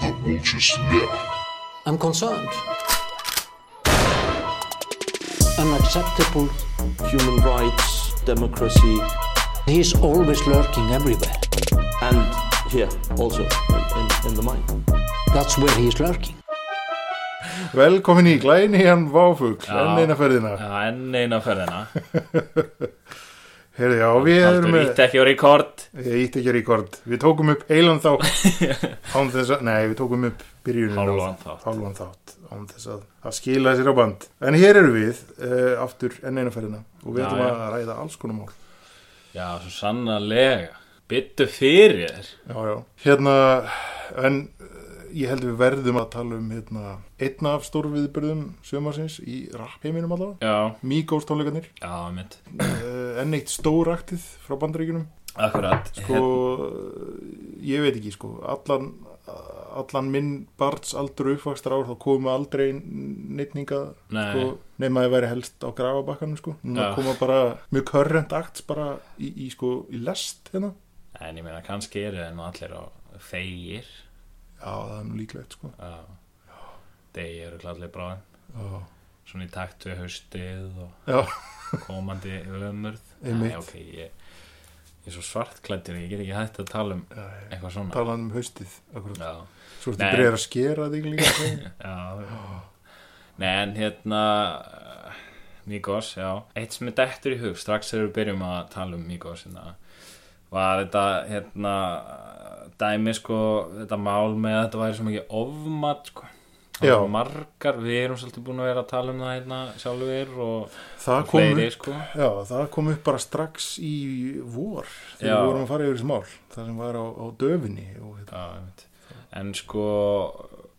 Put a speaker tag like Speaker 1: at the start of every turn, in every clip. Speaker 1: The vultures left.
Speaker 2: I'm concerned. Unacceptable.
Speaker 3: human rights, democracy,
Speaker 2: He's always lurking everywhere.
Speaker 3: and here also in, in, in the mind.
Speaker 2: That's where he is lurking.
Speaker 4: Velkomin í glæníjan Váfugl, enn eina ferðina.
Speaker 5: Já, enn eina ferðina
Speaker 4: Herði, já, við erum
Speaker 5: Haldur
Speaker 4: með...
Speaker 5: ítt ekki á rekord
Speaker 4: Ég ítti ekki rekord. Við tókum upp heilan þá án þess að... Nei, við tókum upp byrjunin á-
Speaker 5: Hálfan þátt.
Speaker 4: Hálfan þátt án þess að það skila sér á band. En hér eru við, uh, aftur enn eina ferðina og við
Speaker 5: Já,
Speaker 4: ætlum
Speaker 5: já.
Speaker 4: að ræða alls konar mál.
Speaker 5: Já, svo sannarlega Byttu fyrir þér
Speaker 4: Já, já. Hérna, en eh, ég held við verðum að tala um hérna, einna af stórviðbyrðum sömarsins í rappheiminum allavega.
Speaker 5: Já,
Speaker 4: Mígós tónleikarnir,
Speaker 5: já, mitt
Speaker 4: uh, enn eitt stóraktið frá bandaríkunum.
Speaker 5: Akkurat
Speaker 4: sko,
Speaker 5: Hérna.
Speaker 4: ég veit ekki sko, allan, allan minn barns aldur uppvakstar ár þá komu aldrei neittninga
Speaker 5: Nei.
Speaker 4: sko, nema að væri helst á grafabakkanum sko, núna
Speaker 5: Já.
Speaker 4: koma bara mjög körrent acts bara í, í sko, í lest hérna,
Speaker 5: En ég meina, kannski eru þeir nú allir á þeir
Speaker 4: já það er nú líklegt sko,
Speaker 5: Já Þeir eru allir bráðin
Speaker 4: já,
Speaker 5: Svona í takt við haustið og
Speaker 4: já,
Speaker 5: komandi ömurð
Speaker 4: Einmitt.
Speaker 5: Nei, ok, ég, ég er svo svartklættur Ég get ekki hægt að tala um
Speaker 4: já
Speaker 5: eitthvað svona
Speaker 4: talað um haustið, akkurat,
Speaker 5: Já
Speaker 4: svo ertu
Speaker 5: Nei.
Speaker 4: bregðar að skera þig líka sko.
Speaker 5: Já Nei en hérna eh, Migos, já Eitt sem er dettur í hug, strax þegar við byrjum að tala um Migos hérna, Var þetta hérna Dæmi sko, þetta mál með að Þetta væri svo mikið ofmat sko Það
Speaker 4: Já.
Speaker 5: voru margar, við erum svolítið búin að vera að tala um það hérna sjálfur og
Speaker 4: það
Speaker 5: og
Speaker 4: kom
Speaker 5: fleiri
Speaker 4: upp
Speaker 5: sko
Speaker 4: Já, það kom upp bara strax í vor þegar
Speaker 5: Já.
Speaker 4: við vorum að fara yfir þessi mál það sem var á, á döfinni og hérna.
Speaker 5: Já, einmitt. En sko,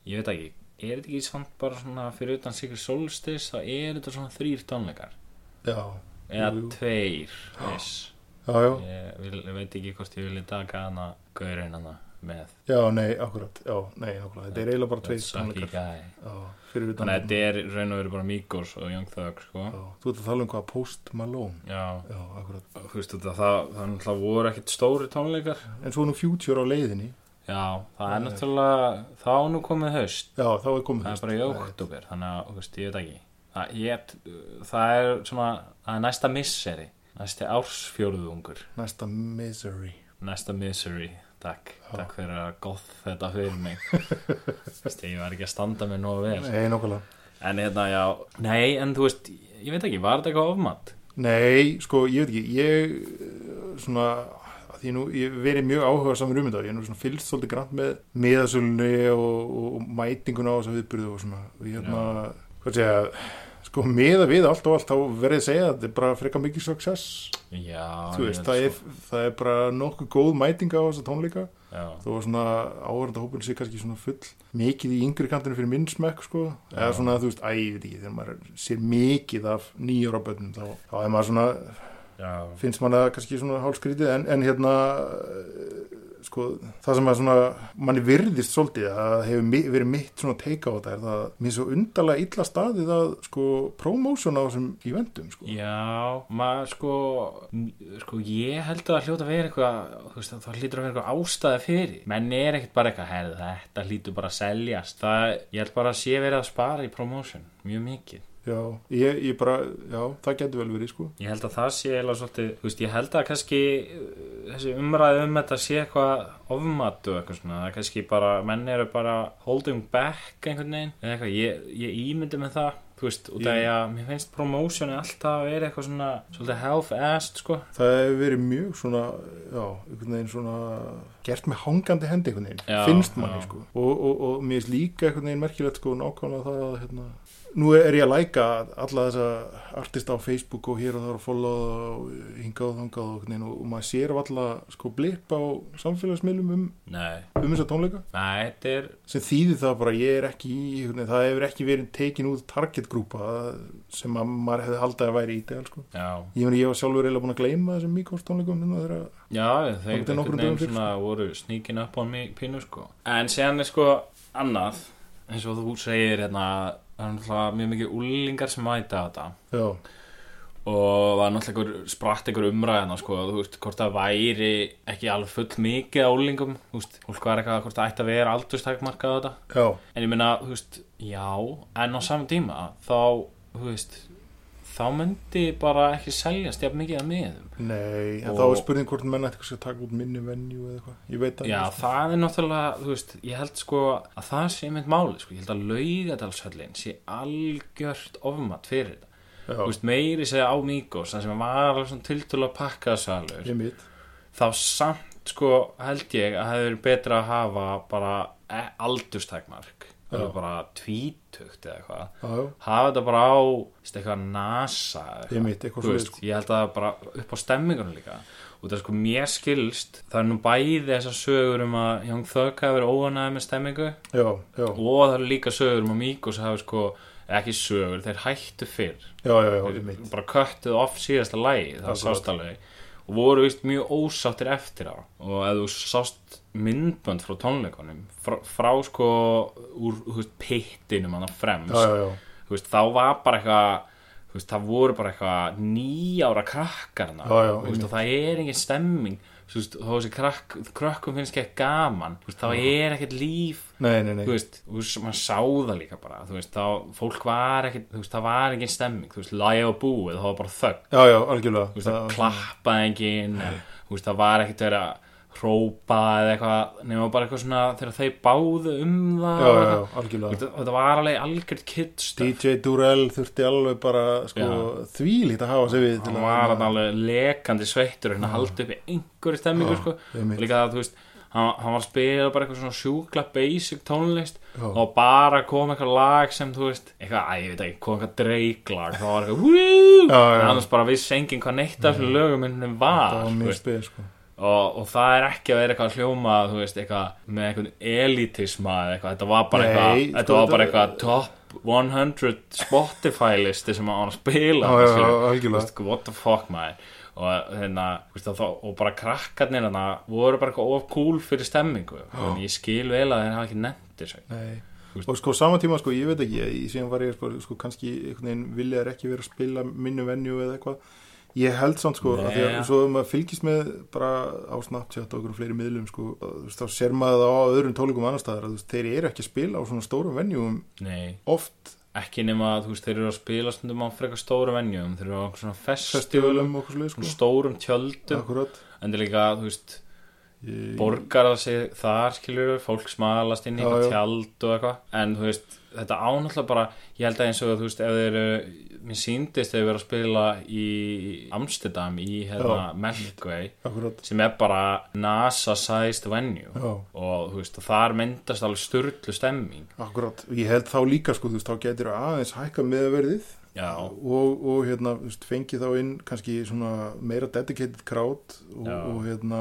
Speaker 5: ég veit ekki, er þetta ekki samt bara svona fyrir utan Sigur Solstis, þá er þetta svona þrýr tónleikar.
Speaker 4: Já,
Speaker 5: Eða
Speaker 4: Jú, jú.
Speaker 5: tveir, viss.
Speaker 4: já, já
Speaker 5: Ég vil, ég veit ekki hvort ég vilja taka hana, gaurinn hana með.
Speaker 4: Já, nei, akkurat, já, nei, akkurat. þetta er eiginlega bara tveir
Speaker 5: Sucky
Speaker 4: tónleikar
Speaker 5: guy.
Speaker 4: Já, fyrir utan
Speaker 5: Þannig að þetta er í raun og verið bara Migos og Young Thug, sko.
Speaker 4: Já, Þú ert að tala um hvað Post Malone
Speaker 5: Já,
Speaker 4: Já, akkurat
Speaker 5: þú veist þetta, það, það er náttúrulega voru ekkert stóri tónleikar.
Speaker 4: En svo er nú Future á leiðinni
Speaker 5: Já, það er náttúrulega, þá er nú komið haust.
Speaker 4: Já, þá er komið
Speaker 5: það er
Speaker 4: haust.
Speaker 5: bara í oktober þannig að þú veist, ég veit ekki það, ég, það er svona það er næsta misseri næsti ársfjóruðungur
Speaker 4: Næsta Misery
Speaker 5: næsta misery takk, takk fyrir að góð þetta fyrir mig Vist, ég var ekki að standa mig nógu vel
Speaker 4: Nei, nokkulega
Speaker 5: en hérna já, nei en þú veist ég veit ekki, var þetta eitthvað ofmatt
Speaker 4: Nei, sko, ég veit ekki Ég, eh, svona að Því nú, ég hef verið mjög áhuga saman um þetta Ég er nú svona fylgst svolítið grann með miðasölunni og, og, og mætinguna á þess að viðbyrðu og svona Og ég hérna, hvað segja Sko, miða við allt og allt Þá verðið að segja að þetta er bara frekar mikið success
Speaker 5: já,
Speaker 4: þú
Speaker 5: ég
Speaker 4: veist,
Speaker 5: veit
Speaker 4: það er,
Speaker 5: svo.
Speaker 4: það er bara nokkuð góð mætinga á þessa tónleika
Speaker 5: sko- já,
Speaker 4: þó var svona áhverjanda hópin sér kannski svona full mikið í yngri kantinu fyrir minn smekk sko, eða svona þú veist, æ, ég veit ekki þegar maður sér mikið af nýjóra bönnum þá, þá er maður svona,
Speaker 5: já,
Speaker 4: finnst maður það kannski svona hálskrítið, en, en hérna eh, sko, það sem að svona manni virðist svolítið, það hefur mi verið mitt svona teika á þetta, er það mér er svo undarlega illa staðið að sko promósjona á þessum eventum sko.
Speaker 5: Já, maður sko, sko ég held að það hljóta að vera eitthvað, þú veist, það hlýtur að vera eitthvað ástæði fyrir. Menn er ekkert bara eitthvað, herðu, þetta hlýtur bara að seljast. Það, ég held bara að sé verið að spara í promotion, mjög mikið.
Speaker 4: Já, ég, ég bara, já, það getur vel verið sko.
Speaker 5: Ég held að það sé eða svolítið, þú veist, ég held að kannski uh, þessi umræði um þetta sé eitthvað ofmatu eitthvað svona, það er kannski bara, menn eru bara holding back einhvern veginn, eða eitthvað, ég, ég ímyndi með það, þú veist, út af
Speaker 4: Ég-
Speaker 5: því að mér finnst promotioni alltaf að vera eitthvað svona, svolítið half-assed, sko.
Speaker 4: Það hefur verið mjög svona, já, einhvern veginn svona gert með hangandi hendi einhvern veginn,
Speaker 5: Já,
Speaker 4: finnst manni
Speaker 5: já.
Speaker 4: sko. Og, og, og mér finnst líka einhvern veginn merkilegt sko nákvæmlega það að hérna, nú er ég að læka alla þessa artista á Facebook og hér og það er að followa það og hingað og þangað og einhvern veginn og, og maður sér alltaf sko blip á samfélagsmiðlum um,
Speaker 5: Nei.
Speaker 4: um þessa tónleika
Speaker 5: Nei, þetta er,
Speaker 4: sem þýðir það bara ég er ekki í, einhvern veginn, það hefur ekki verið tekin út targetgrúpa sem að maður hefði haldið að væri í dag sko.
Speaker 5: já,
Speaker 4: Ég meni, ég var sjálfur eiginlega búin að gleyma þessum mikóstónleikum hérna þegar að
Speaker 5: já, þeir
Speaker 4: Þangað til nokkrum
Speaker 5: einhvern veginn
Speaker 4: dögum fyrr,
Speaker 5: svona voru sníkin upp á mig pínu sko. En séðan er sko annað, eins og þú segir hérna, það er náttúrulega mjög mikið úlingar sem mæta á þetta
Speaker 4: Já,
Speaker 5: og var náttúrulega einhver, spratt einhver umræðina sko, þú veist, hvort það væri ekki alveg full mikið álingum, þú veist, fólk var eitthvað hvort það ætti að vera aldurstakmarkað á þetta
Speaker 4: já,
Speaker 5: en ég meina, þú veist, já en á saman tíma, þá þú veist, þá myndi bara ekki seljast jafn mikið að miðum
Speaker 4: nei, en
Speaker 5: Og-
Speaker 4: þá er spurning hvort menn ætti kannski að taka út minni venju eða eitthvað, ég veit það
Speaker 5: Já,
Speaker 4: ekki, sko.
Speaker 5: það er náttúrulega, þú veist, ég held sko að það sé mynd máli, sko, ég held að laugadalshöllin sé algjört ofmat fyrir þetta, þú
Speaker 4: já,
Speaker 5: veist, meiri segja á Míkos, það sem var alveg svona tiltölu að pakka salur,
Speaker 4: ég mitt
Speaker 5: þá samt sko held ég að það hefur betra að hafa bara e- aldurstakmark eða bara tvítugt eða eitthvað
Speaker 4: já, já,
Speaker 5: hafa þetta bara á veist, eitthvað NASA eða
Speaker 4: Ég mitt, eitthvað
Speaker 5: Þú
Speaker 4: svoleiðis, sko.
Speaker 5: veist, ég held að það bara upp á stemmingunum líka og það er sko mér skilst það er nú bæði þessar sögur um að Young Thug hafi verið óanæði með stemmingu
Speaker 4: já, já,
Speaker 5: og það eru líka sögur um að Míkos hafi sko ekki sögur, þeir hættu fyrr
Speaker 4: já, já, já, ég mitt
Speaker 5: bara köttuð off síðasta lægi það
Speaker 4: Akkurat.
Speaker 5: sást alveg og voru vist mjög ósáttir eftir á og ef þú sást myndbönd frá tónleikunum frá, frá sko úr þú veist, pittinum hann fremst
Speaker 4: já, já, já,
Speaker 5: Þú veist, þá var bara eitthvað þú veist, það voru bara eitthvað nýjára krakkarna
Speaker 4: Já, já,
Speaker 5: Þú veist, og það er engin stemming Þú veist, þó þessi krakk, krökkum finnst ekki gaman þú veist, þá er ekkert líf
Speaker 4: nei, nei, nei
Speaker 5: þú veist, þú veist, maður sá það líka bara þú veist, þá, fólk var ekki þú veist, það var ekki stemming, þú veist, lægi á búið það var bara þögn,
Speaker 4: já, já, algjörlega
Speaker 5: þú veist,
Speaker 4: Það-
Speaker 5: það klappaði engin þú veist, það var ekkert verið að hrópa eða eitthvað, nema bara eitthvað svona þegar þeir báðu um það
Speaker 4: já,
Speaker 5: og
Speaker 4: já, já,
Speaker 5: eitthvað. Þú
Speaker 4: algjörlega
Speaker 5: veist, þetta var alveg algjörð kitt
Speaker 4: DJ Durell þurfti alveg bara sko,
Speaker 5: Já.
Speaker 4: þvílíkt að hafa sig við til
Speaker 5: hann
Speaker 4: að-
Speaker 5: var hann alveg lekandi sveittur hérna haldi uppi einhverju stemmingu sko.
Speaker 4: einmitt.
Speaker 5: líka það, þú veist hann, hann var að spila bara eitthvað svona sjúkla basic tónlist
Speaker 4: Já.
Speaker 5: og bara kom eitthvað lag sem þú veist eitthvað, að ég veit ekki, kom eitthvað dreiklag þá var eitthvað, wúúú
Speaker 4: Já, já.
Speaker 5: annars bara vissi enginn hvað neitt af þessu lögum minnum var
Speaker 4: það var
Speaker 5: þú
Speaker 4: mjög
Speaker 5: veist.
Speaker 4: spil sko.
Speaker 5: og, og það er ekki að vera eitthvað að hljóma þú veist, eitthvað með eitthvað elitisma eða eitthvað, þetta var bara
Speaker 4: Nei,
Speaker 5: eitthvað
Speaker 4: sko,
Speaker 5: þetta var bara
Speaker 4: þetta-
Speaker 5: eitthvað top 100 Spotify listi sem hann var að spila
Speaker 4: Já, já,
Speaker 5: skilur.
Speaker 4: já, algjörlega.
Speaker 5: Þú veist, sko, what the fuck maður og, hérna, þú veist, og þá, og bara krakkarnir hana, voru bara eitthvað of cool fyrir stemmingu oh. ég skil vel að þeir hafa ekki nefnt þessu
Speaker 4: Nei. og sko sama tíma sko ég veit ekki ég, síðan var ég sko, sko kannski einhvern veginn vilja þær ekki vera að spila minnu venju eða eitthvað ég held samt sko
Speaker 5: Nei,
Speaker 4: að því að
Speaker 5: ja.
Speaker 4: svo ef maður fylgist með bara á Snapchat og okkur fleiri miðlum sko að, þú veist, þá sér maður það á öðrum tólikum annar staðar að, þú veist, þeir eru ekki að spila á svona stórum venjum
Speaker 5: nei,
Speaker 4: oft
Speaker 5: ekki nema að þú veist, þeir eru að spila stundum á frekar stóru venjum þeir eru á einhver svona festivalum
Speaker 4: festivalum og okkur slið
Speaker 5: svona
Speaker 4: sko
Speaker 5: stórum tjöldum
Speaker 4: akkurat
Speaker 5: en þeir líka, þú veist
Speaker 4: Ég-
Speaker 5: borgar að sig þar skilur fólk smalast inn í
Speaker 4: Já,
Speaker 5: eitthvað
Speaker 4: já.
Speaker 5: tjald og eitthvað en þú veist, þetta ánáttúrulega bara ég held að eins og þú veist, ef þeir eru mér síndist þeir verið að spila í Amsterdam í hérna Melkway
Speaker 4: akkurat
Speaker 5: sem er bara NASA-sized venue
Speaker 4: já
Speaker 5: og þú veist, og þar myndast alveg styrlu stemming
Speaker 4: Akkurat, ég held þá líka sko, þú veist, þá getur aðeins hækka meðverðið
Speaker 5: Já.
Speaker 4: og, og hérna, þú veist, fengi þá inn kannski svona meira dedicated crowd og,
Speaker 5: Já.
Speaker 4: og hérna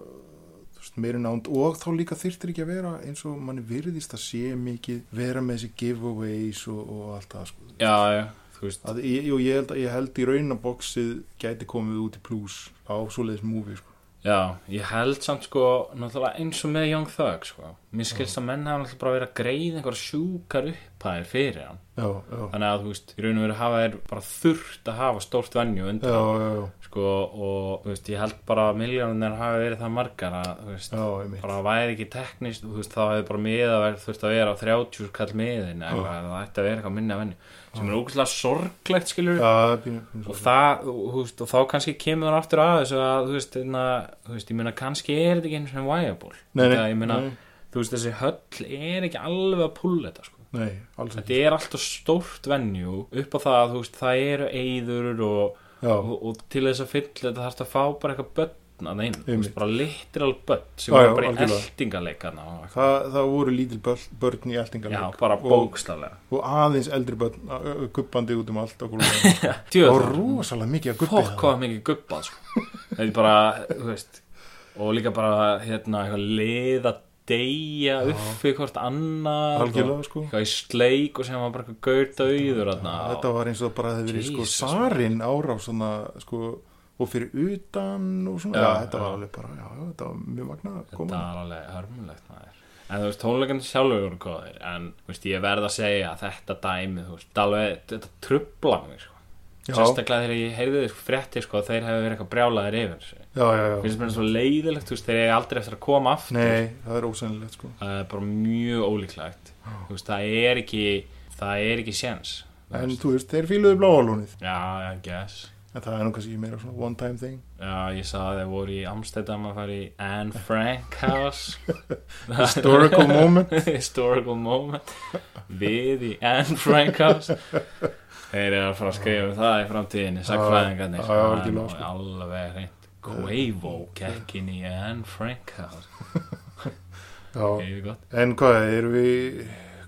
Speaker 4: þú veist, meira nánd og þá líka þyrftir ekki að vera eins og manni virðist að sé mikið vera með þessi giveaways og, og allt það sko.
Speaker 5: já, já, þú veist
Speaker 4: Að, ég, jú, ég, held, ég held í raunaboksið gæti komið út í plus á svoleiðis movie sko.
Speaker 5: Já, ég held samt sko náttúrulega eins og með Young Thug sko. mér skilst að menn hafa náttúrulega bara verið að greið einhver sjúkar upphæðir fyrir hann
Speaker 4: Já, já, já,
Speaker 5: þannig að þú veist, í raun og veru hafa þær bara þurft að hafa stórt venju undir
Speaker 4: já, já,
Speaker 5: sko, og þú veist, ég held bara að miljónir hafa verið það margar að, þú veist,
Speaker 4: já, einmitt.
Speaker 5: bara væri ekki teknist þú veist, þá hefði bara miðaverð þurft að vera á 30 kall miðin, eða eitthvað, það ætti að vera eitthvað minna venju, sem er ógæslega sorglegt skilur,
Speaker 4: Já, pínu, pínu,
Speaker 5: og það, og, þú veist, og þá kannski kemur hann aftur að þessu að, þú veist, inna, þú veist, ég meina kannski er þetta ekki einu svona viable,
Speaker 4: Nei, nei,
Speaker 5: Þetta, ég meina,
Speaker 4: nei.
Speaker 5: þú veist, þessi höll er ekki alveg að púla þetta, sko
Speaker 4: Nei, alls
Speaker 5: þetta
Speaker 4: ekki
Speaker 5: er alltaf stórt venju upp á það að þú veist það eru eyður og,
Speaker 4: Já,
Speaker 5: og, og til þess að fylla þetta þarfst að fá bara eitthvað börn að neina, þú veist
Speaker 4: Einmitt.
Speaker 5: bara literal börn sem
Speaker 4: Já,
Speaker 5: eru
Speaker 4: já,
Speaker 5: bara í
Speaker 4: algjörlega.
Speaker 5: eldingaleikana og eitthvað.
Speaker 4: Það, það voru lítil börn, börn í eltingarleik
Speaker 5: Já, bara bókstallega
Speaker 4: og aðeins eldri börn ö- ö- gubbandi út um allt á gólfinu. og
Speaker 5: Djöður,
Speaker 4: rosalega mikið að gubbi
Speaker 5: fokk hvað mikið gubbað sko. þetta er bara, þú veist og líka bara, hérna, eitthvað liða deyja uppi hvort annað
Speaker 4: Algjörlega,
Speaker 5: og-
Speaker 4: sko.
Speaker 5: eitthvað í sleik og sem var bara eitthvað gautauður
Speaker 4: þetta var eins og bara hefði verið sko
Speaker 5: Hérna. Jesus,
Speaker 4: sarin árás svona, sko, og fyrir utan og svona,
Speaker 5: Já,
Speaker 4: já, þetta var
Speaker 5: já.
Speaker 4: alveg bara já, já, þetta var mjög magnað að
Speaker 5: Þetta
Speaker 4: koma
Speaker 5: er alveg hörmulegt maður En þú veist, tónleikandi sjálfur voru góðir En þú veist, ég verð að segja að þetta dæmi Þú veist, alveg, þetta trubla mig sko.
Speaker 4: Já.
Speaker 5: sérstaklega þegar ég heyrði þér fréttir sko, þeir hefur verið eitthvað brjálaðir yfir þessu.
Speaker 4: já, já, já.
Speaker 5: finnst mér svo leiðilegt þú veist, þeir eru aldrei eftir að koma aftur
Speaker 4: Nei, það er ósennilegt sko.
Speaker 5: það er bara mjög ólíklegt þú veist, það er ekki það er ekki séns þú
Speaker 4: En
Speaker 5: veist.
Speaker 4: þú veist, þeir fíluðu bláalónið
Speaker 5: já, I guess
Speaker 4: En það er nú kannski meira svona one time thing
Speaker 5: já, ég sagði að þeir voru í Amsterdam að fara í Anne Frank House
Speaker 4: Historical moment
Speaker 5: historical moment við í Anne Frank House þeir eru að fara að skrifa um það í framtíðinni
Speaker 4: Já,
Speaker 5: sagfræðingarnir
Speaker 4: já, algjörlega, sko.
Speaker 5: Það er nú alveg reynd Quavo gekk inn í Anne Frank House
Speaker 4: já.
Speaker 5: hefur gott
Speaker 4: En hvað, erum við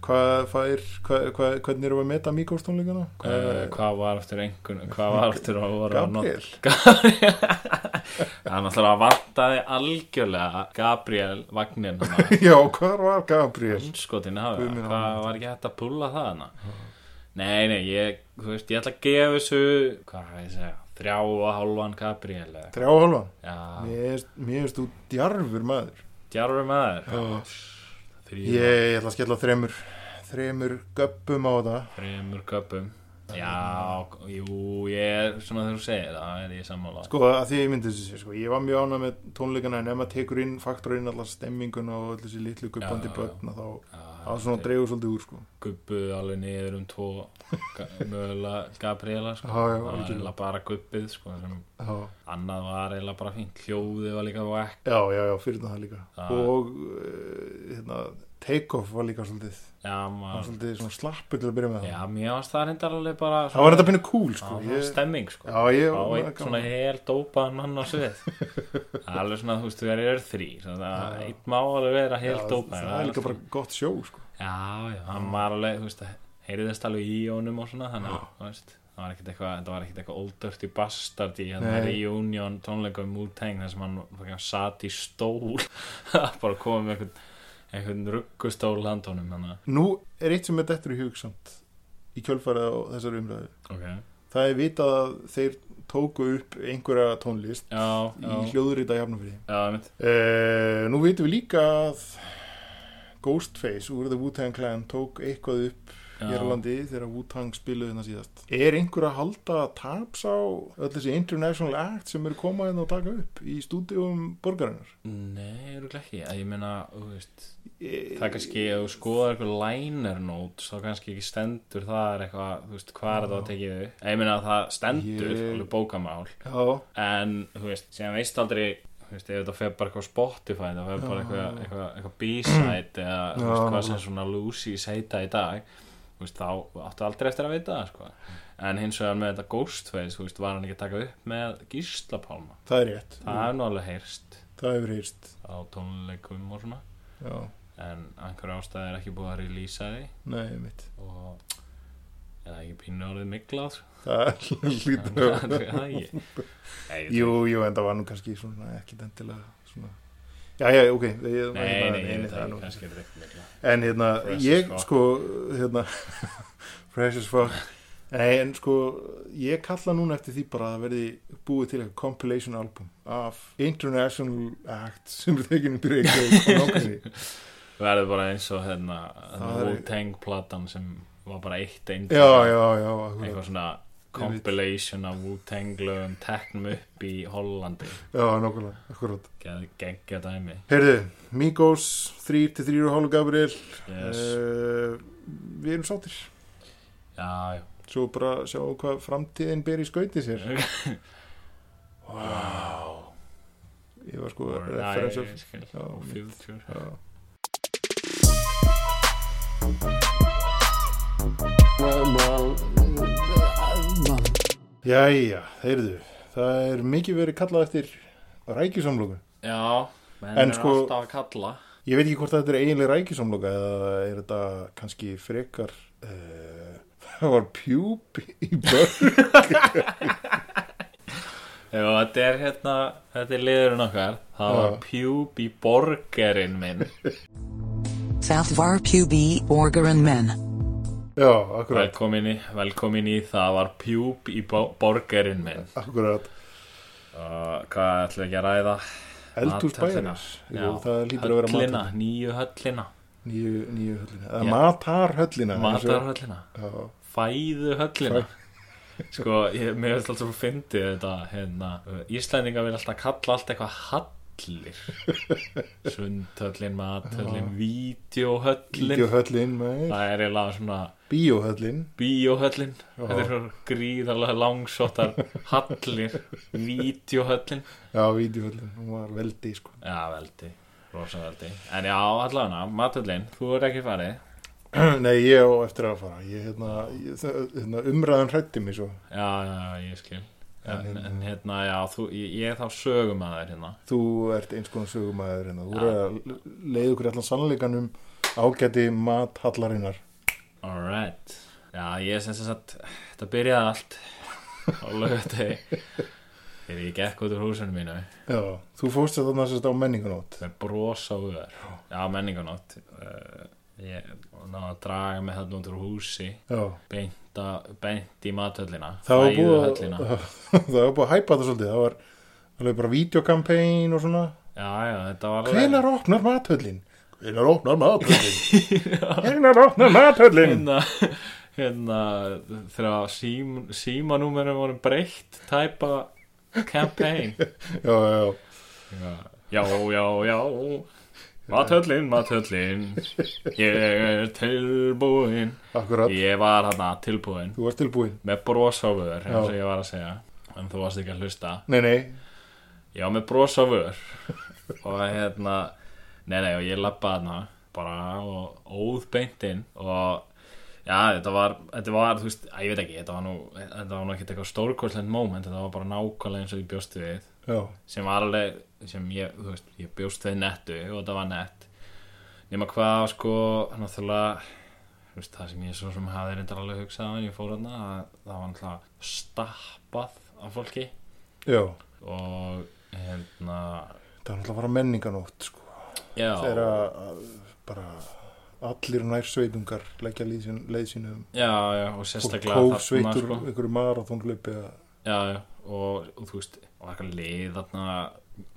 Speaker 4: Hvað fær, hvað, hvað, hvernig erum við að meta Míkóstónleikana?
Speaker 5: Uh, hvað var aftur einhvern hvað var aftur að voru að nota
Speaker 4: Gabriel
Speaker 5: það er náttúrulega vantaði algjörlega Gabriel Vagnin hann
Speaker 4: Já, hvað var Gabriel?
Speaker 5: skotin hafa,
Speaker 4: Guð minn
Speaker 5: hvað var ekki hægt að púla það hana nei, nei, ég þú veist, ég ætla að gefa þessu hvað er ég að segja, þrjá og hálfan Gabriel eða eitthvað.
Speaker 4: Þrjá og hálfan
Speaker 5: já,
Speaker 4: Mér finnst- mér finnst þú djarfur maður
Speaker 5: djarfur maður
Speaker 4: Já.
Speaker 5: þrjú,
Speaker 4: Ég ætla að skella þremur Þremur göppum á það
Speaker 5: þremur köpum já, jú, ég er svona þegar þú segir það, er ég sammála
Speaker 4: Sko, að því ég myndi þessu sér, sko Ég var mjög ánað með tónleikana En ef maður tekur inn faktorinn allar stemminguna Og allir þessi litlu guppandi
Speaker 5: Já, já, já.
Speaker 4: börna Þá
Speaker 5: Já,
Speaker 4: það svona dreigur svolítið úr, sko
Speaker 5: gubbuð alveg niður um tvo ga- mögulega Gabriela sko.
Speaker 4: Já, já,
Speaker 5: það var
Speaker 4: algjörlega.
Speaker 5: eiginlega bara gubbið sko, sem
Speaker 4: Já,
Speaker 5: annað var eiginlega bara fínt hljóðið var líka vekk
Speaker 4: já, já, já fyrir það líka
Speaker 5: Já.
Speaker 4: Og uh, hérna, take-off var líka svolítið
Speaker 5: já,
Speaker 4: Það var
Speaker 5: maður,
Speaker 4: svolítið svona slappur til að byrja með það
Speaker 5: já, mér varst það reyndar alveg bara
Speaker 4: Það var þetta pínu cool,
Speaker 5: það
Speaker 4: sko
Speaker 5: var
Speaker 4: ég,
Speaker 5: stemming sko.
Speaker 4: Já, ég
Speaker 5: á
Speaker 4: var
Speaker 5: einn svona hel dópaðan mann á svið Það er alveg svona þú veist þú verður þrý
Speaker 4: Já, já.
Speaker 5: einn má alveg vera hel
Speaker 4: Já,
Speaker 5: dópaðan
Speaker 4: Það er líka bara gott sjó, sko
Speaker 5: Já, já, hann var alveg, þú veist, heyriðist alveg í honum og svona, þannig að, þú veist, það var ekkert eitthvað, þetta var ekkert eitthvað old dirty bastard í hérna
Speaker 4: Nei.
Speaker 5: reunion tónleikum úteng þar sem hann fyrir, sat í stól, bara komið með einhvern, einhvern ruggustól handónum, þannig að,
Speaker 4: Nú er eitt sem er dettur í hugsamt Í kjölfarið á þessari umræðu
Speaker 5: ok,
Speaker 4: Það er vitað að þeir tóku upp einhverja tónlist
Speaker 5: já,
Speaker 4: í
Speaker 5: já,
Speaker 4: hljóðurita jafnumfriði.
Speaker 5: já, mitt,
Speaker 4: Uh, nú vitum við líka að Ghostface úr The Wu-Tang Clan tók eitthvað upp hér á
Speaker 5: já,
Speaker 4: landi þegar Wu-Tang spiluði hérna síðast. Er einhver að halda taps á öll þessi international act sem eru komað hérna og taka upp í stúdíum borgarinnar?
Speaker 5: nei, eru ekki, að ég meina, þú veist,
Speaker 4: Eh,
Speaker 5: það er kannski, ef þú skoðar eitthvað liner notes, þá kannski ekki stendur það er eitthvað, þú veist, hvað er það að tekið þau, ég meina að það stendur,
Speaker 4: Ég-
Speaker 5: alveg bókamál,
Speaker 4: Já,
Speaker 5: en þú veist, síðan veist aldrei þú veist, ef þetta fer bara eitthvað á Spotify það fer bara eitthvað, eitthvað, eitthvað B-side eða þú
Speaker 4: Já,
Speaker 5: veist, hvað sem
Speaker 4: nákvæmlega.
Speaker 5: svona Lucy heita í dag þú veist, þá áttu aldrei eftir að veita það sko. en hins vegar með þetta Ghostface þú veist, var hann ekki að taka upp með Gísla Pálma
Speaker 4: það er rétt.
Speaker 5: það hefur nú alveg heyrst
Speaker 4: Það hefur heyrst.
Speaker 5: á tónleikum og svona
Speaker 4: Já,
Speaker 5: en einhverja ástæði er ekki búið að relýsa því
Speaker 4: nei, mitt.
Speaker 5: og eða ekki pínu orðið miklað sko.
Speaker 4: Það lítur að
Speaker 5: það er ekki Nei, ég-
Speaker 4: Jú, jú, en það var nú kannski svona ekkit endilega svona Já, já, ok ég,
Speaker 5: Nei, nei, ég
Speaker 4: en,
Speaker 5: veit það
Speaker 4: en,
Speaker 5: ekki, kannski er þetta ekki miklað
Speaker 4: en hérna,
Speaker 5: Fresh as
Speaker 4: ég
Speaker 5: fuck.
Speaker 4: sko hérna, fresh as fuck Nei, en sko, ég kalla núna eftir því bara að það verði búið til eitthvað compilation album af international act sem er tekinn upp í Reykjavík og nákvæmni.
Speaker 5: verður bara eins og hérna
Speaker 4: Það er-
Speaker 5: Wu-Tang platan sem var bara eitt eind
Speaker 4: Já, já, já, akkurat.
Speaker 5: eitthvað svona compilation af Wu-Tang lögum teknum upp í Hollandi
Speaker 4: já, nákvæmlega, akkurat.
Speaker 5: geggja dæmi
Speaker 4: Heyrðu, Migos, 3-3,5 Gabriel,
Speaker 5: yes.
Speaker 4: uh, við erum sáttir.
Speaker 5: já, já
Speaker 4: svo bara sjá hvað framtíðin ber í skauti sér
Speaker 5: wow
Speaker 4: ég var sko
Speaker 5: Or- Æ,
Speaker 4: referensur
Speaker 5: ég skil.
Speaker 4: Já,
Speaker 5: Og
Speaker 4: mitt.
Speaker 5: future
Speaker 2: Well, well, uh, uh,
Speaker 4: jæja, heyrðu það er mikið verið kallað eftir rækjusamloku
Speaker 5: já, menn
Speaker 4: En
Speaker 5: er
Speaker 4: sko-
Speaker 5: alltaf að kalla
Speaker 4: ég veit ekki hvort þetta er eiginlega rækjusamloka eða er þetta kannski frekar uh, það var pjúb í börn
Speaker 5: Jú, þetta er hérna, þetta er liðurinn okkar það var
Speaker 4: Já.
Speaker 5: pjúb í borgerinn minn
Speaker 6: Safvar Pubi Borgeren Men.
Speaker 4: já, akkurat,
Speaker 5: velkomin í, velkomin í það var pjúb í bo- borgerinn minn
Speaker 4: akkurat
Speaker 5: Uh, hvað ætlum við ekki að ræða?
Speaker 4: eldhús
Speaker 5: Mathöllina.
Speaker 4: bæjarins
Speaker 5: Já,
Speaker 4: Jú, það lítur að vera
Speaker 5: höllina,
Speaker 4: matar-
Speaker 5: nýju höllina,
Speaker 4: nýju, nýju höllina eða
Speaker 5: Já.
Speaker 4: matarhöllina eins og-
Speaker 5: matarhöllina,
Speaker 4: Já.
Speaker 5: fæðu höllina. sko, ég, mér finnst alltaf svo fyndið þetta, hérna, Íslendinga vil alltaf kalla allt eitthvað hallir sundhöllin, mathöllin vídeohöllin
Speaker 4: Bíóhöllin, maður.
Speaker 5: það er eiginlega svona
Speaker 4: Bíóhöllin.
Speaker 5: bíóhöllin þetta er svona gríðarlega langsóttar hallir, vídeohöllin
Speaker 4: Já, vídeohöllin. Hún var veldi, sko.
Speaker 5: já, veldi, rosa veldi en já, allavega, mathöllin, þú er ekki farið
Speaker 4: Nei, ég á eftir að fara. Ég, hérna, ég, það- hérna, umræðan hrætti mig svo.
Speaker 5: já, já, já, ég skil
Speaker 4: En
Speaker 5: en,
Speaker 4: hérna-
Speaker 5: en hérna, já, þú, ég, ég er þá sögum að þér hérna
Speaker 4: Þú ert eins konar sögumæður hérna. Þú er að leiða okkur allan sannleikan um ágæti mathallarinnar.
Speaker 5: Alright Já, ég sem sem sagt Þetta byrjaði allt á lögutegi Þegar ég gekk út úr húsinu mínu
Speaker 4: Já, þú fórst þetta næstast á menningunót.
Speaker 5: með bros á hugar Já, menninganótt uh, Ég náði að draga mig þarna út úr húsi
Speaker 4: Já.
Speaker 5: beint, a, beint í mathöllina
Speaker 4: Það var búið,
Speaker 5: fæðuhöllina.
Speaker 4: að- það var búið að hæpa þetta svolítið. Það var alveg bara videokampæn og svona.
Speaker 5: Já, já, þetta var
Speaker 4: Hvenar opnar mathöllin? Hvenar opnar mathöllin? Hvenar opnar mathöllin?
Speaker 5: hérna, hérna þegar sím, símanúmerum voru breytt tæpa campaign
Speaker 4: Já, já, já.
Speaker 5: Já, já, já Mathöllin, mathöllin Ég er tilbúin
Speaker 4: Akkurat,
Speaker 5: Ég var hana tilbúin
Speaker 4: þú varst tilbúin.
Speaker 5: Með bros á vör, eins og
Speaker 4: Já.
Speaker 5: ég var að segja En þú varst ekki að hlusta
Speaker 4: Nei, nei,
Speaker 5: Já, með bros á vör Og hérna Nei, nei, og ég labbaði hana Bara og óð beint inn Og Já, þetta var, þetta var, þú veist, að ég veit ekki, þetta var nú, þetta var nú ekkert eitthvað stórkostlend moment, þetta var bara nákvæmlega eins og ég bjóst við
Speaker 4: já,
Speaker 5: sem var alveg sem ég, þú veist, ég bjóst við nettu og það var nett nema hvað sko, náttúrulega þú veist, það sem ég svo sem hafði reyndar alveg hugsað en ég fór hana, það, það var náttúrulega stappað af fólki
Speaker 4: já.
Speaker 5: og hérna
Speaker 4: Það er náttúrulega bara menninganótt, sko.
Speaker 5: já,
Speaker 4: Þegar að- að bara allir nærsveitungar leggja leið sín- leið sínum.
Speaker 5: já, já, og
Speaker 4: Og
Speaker 5: sérstaklega
Speaker 4: kófsveitur,
Speaker 5: sko.
Speaker 4: einhverju marathónlaupi að...
Speaker 5: já, já, og, og þú veist og eitthvað lið þarna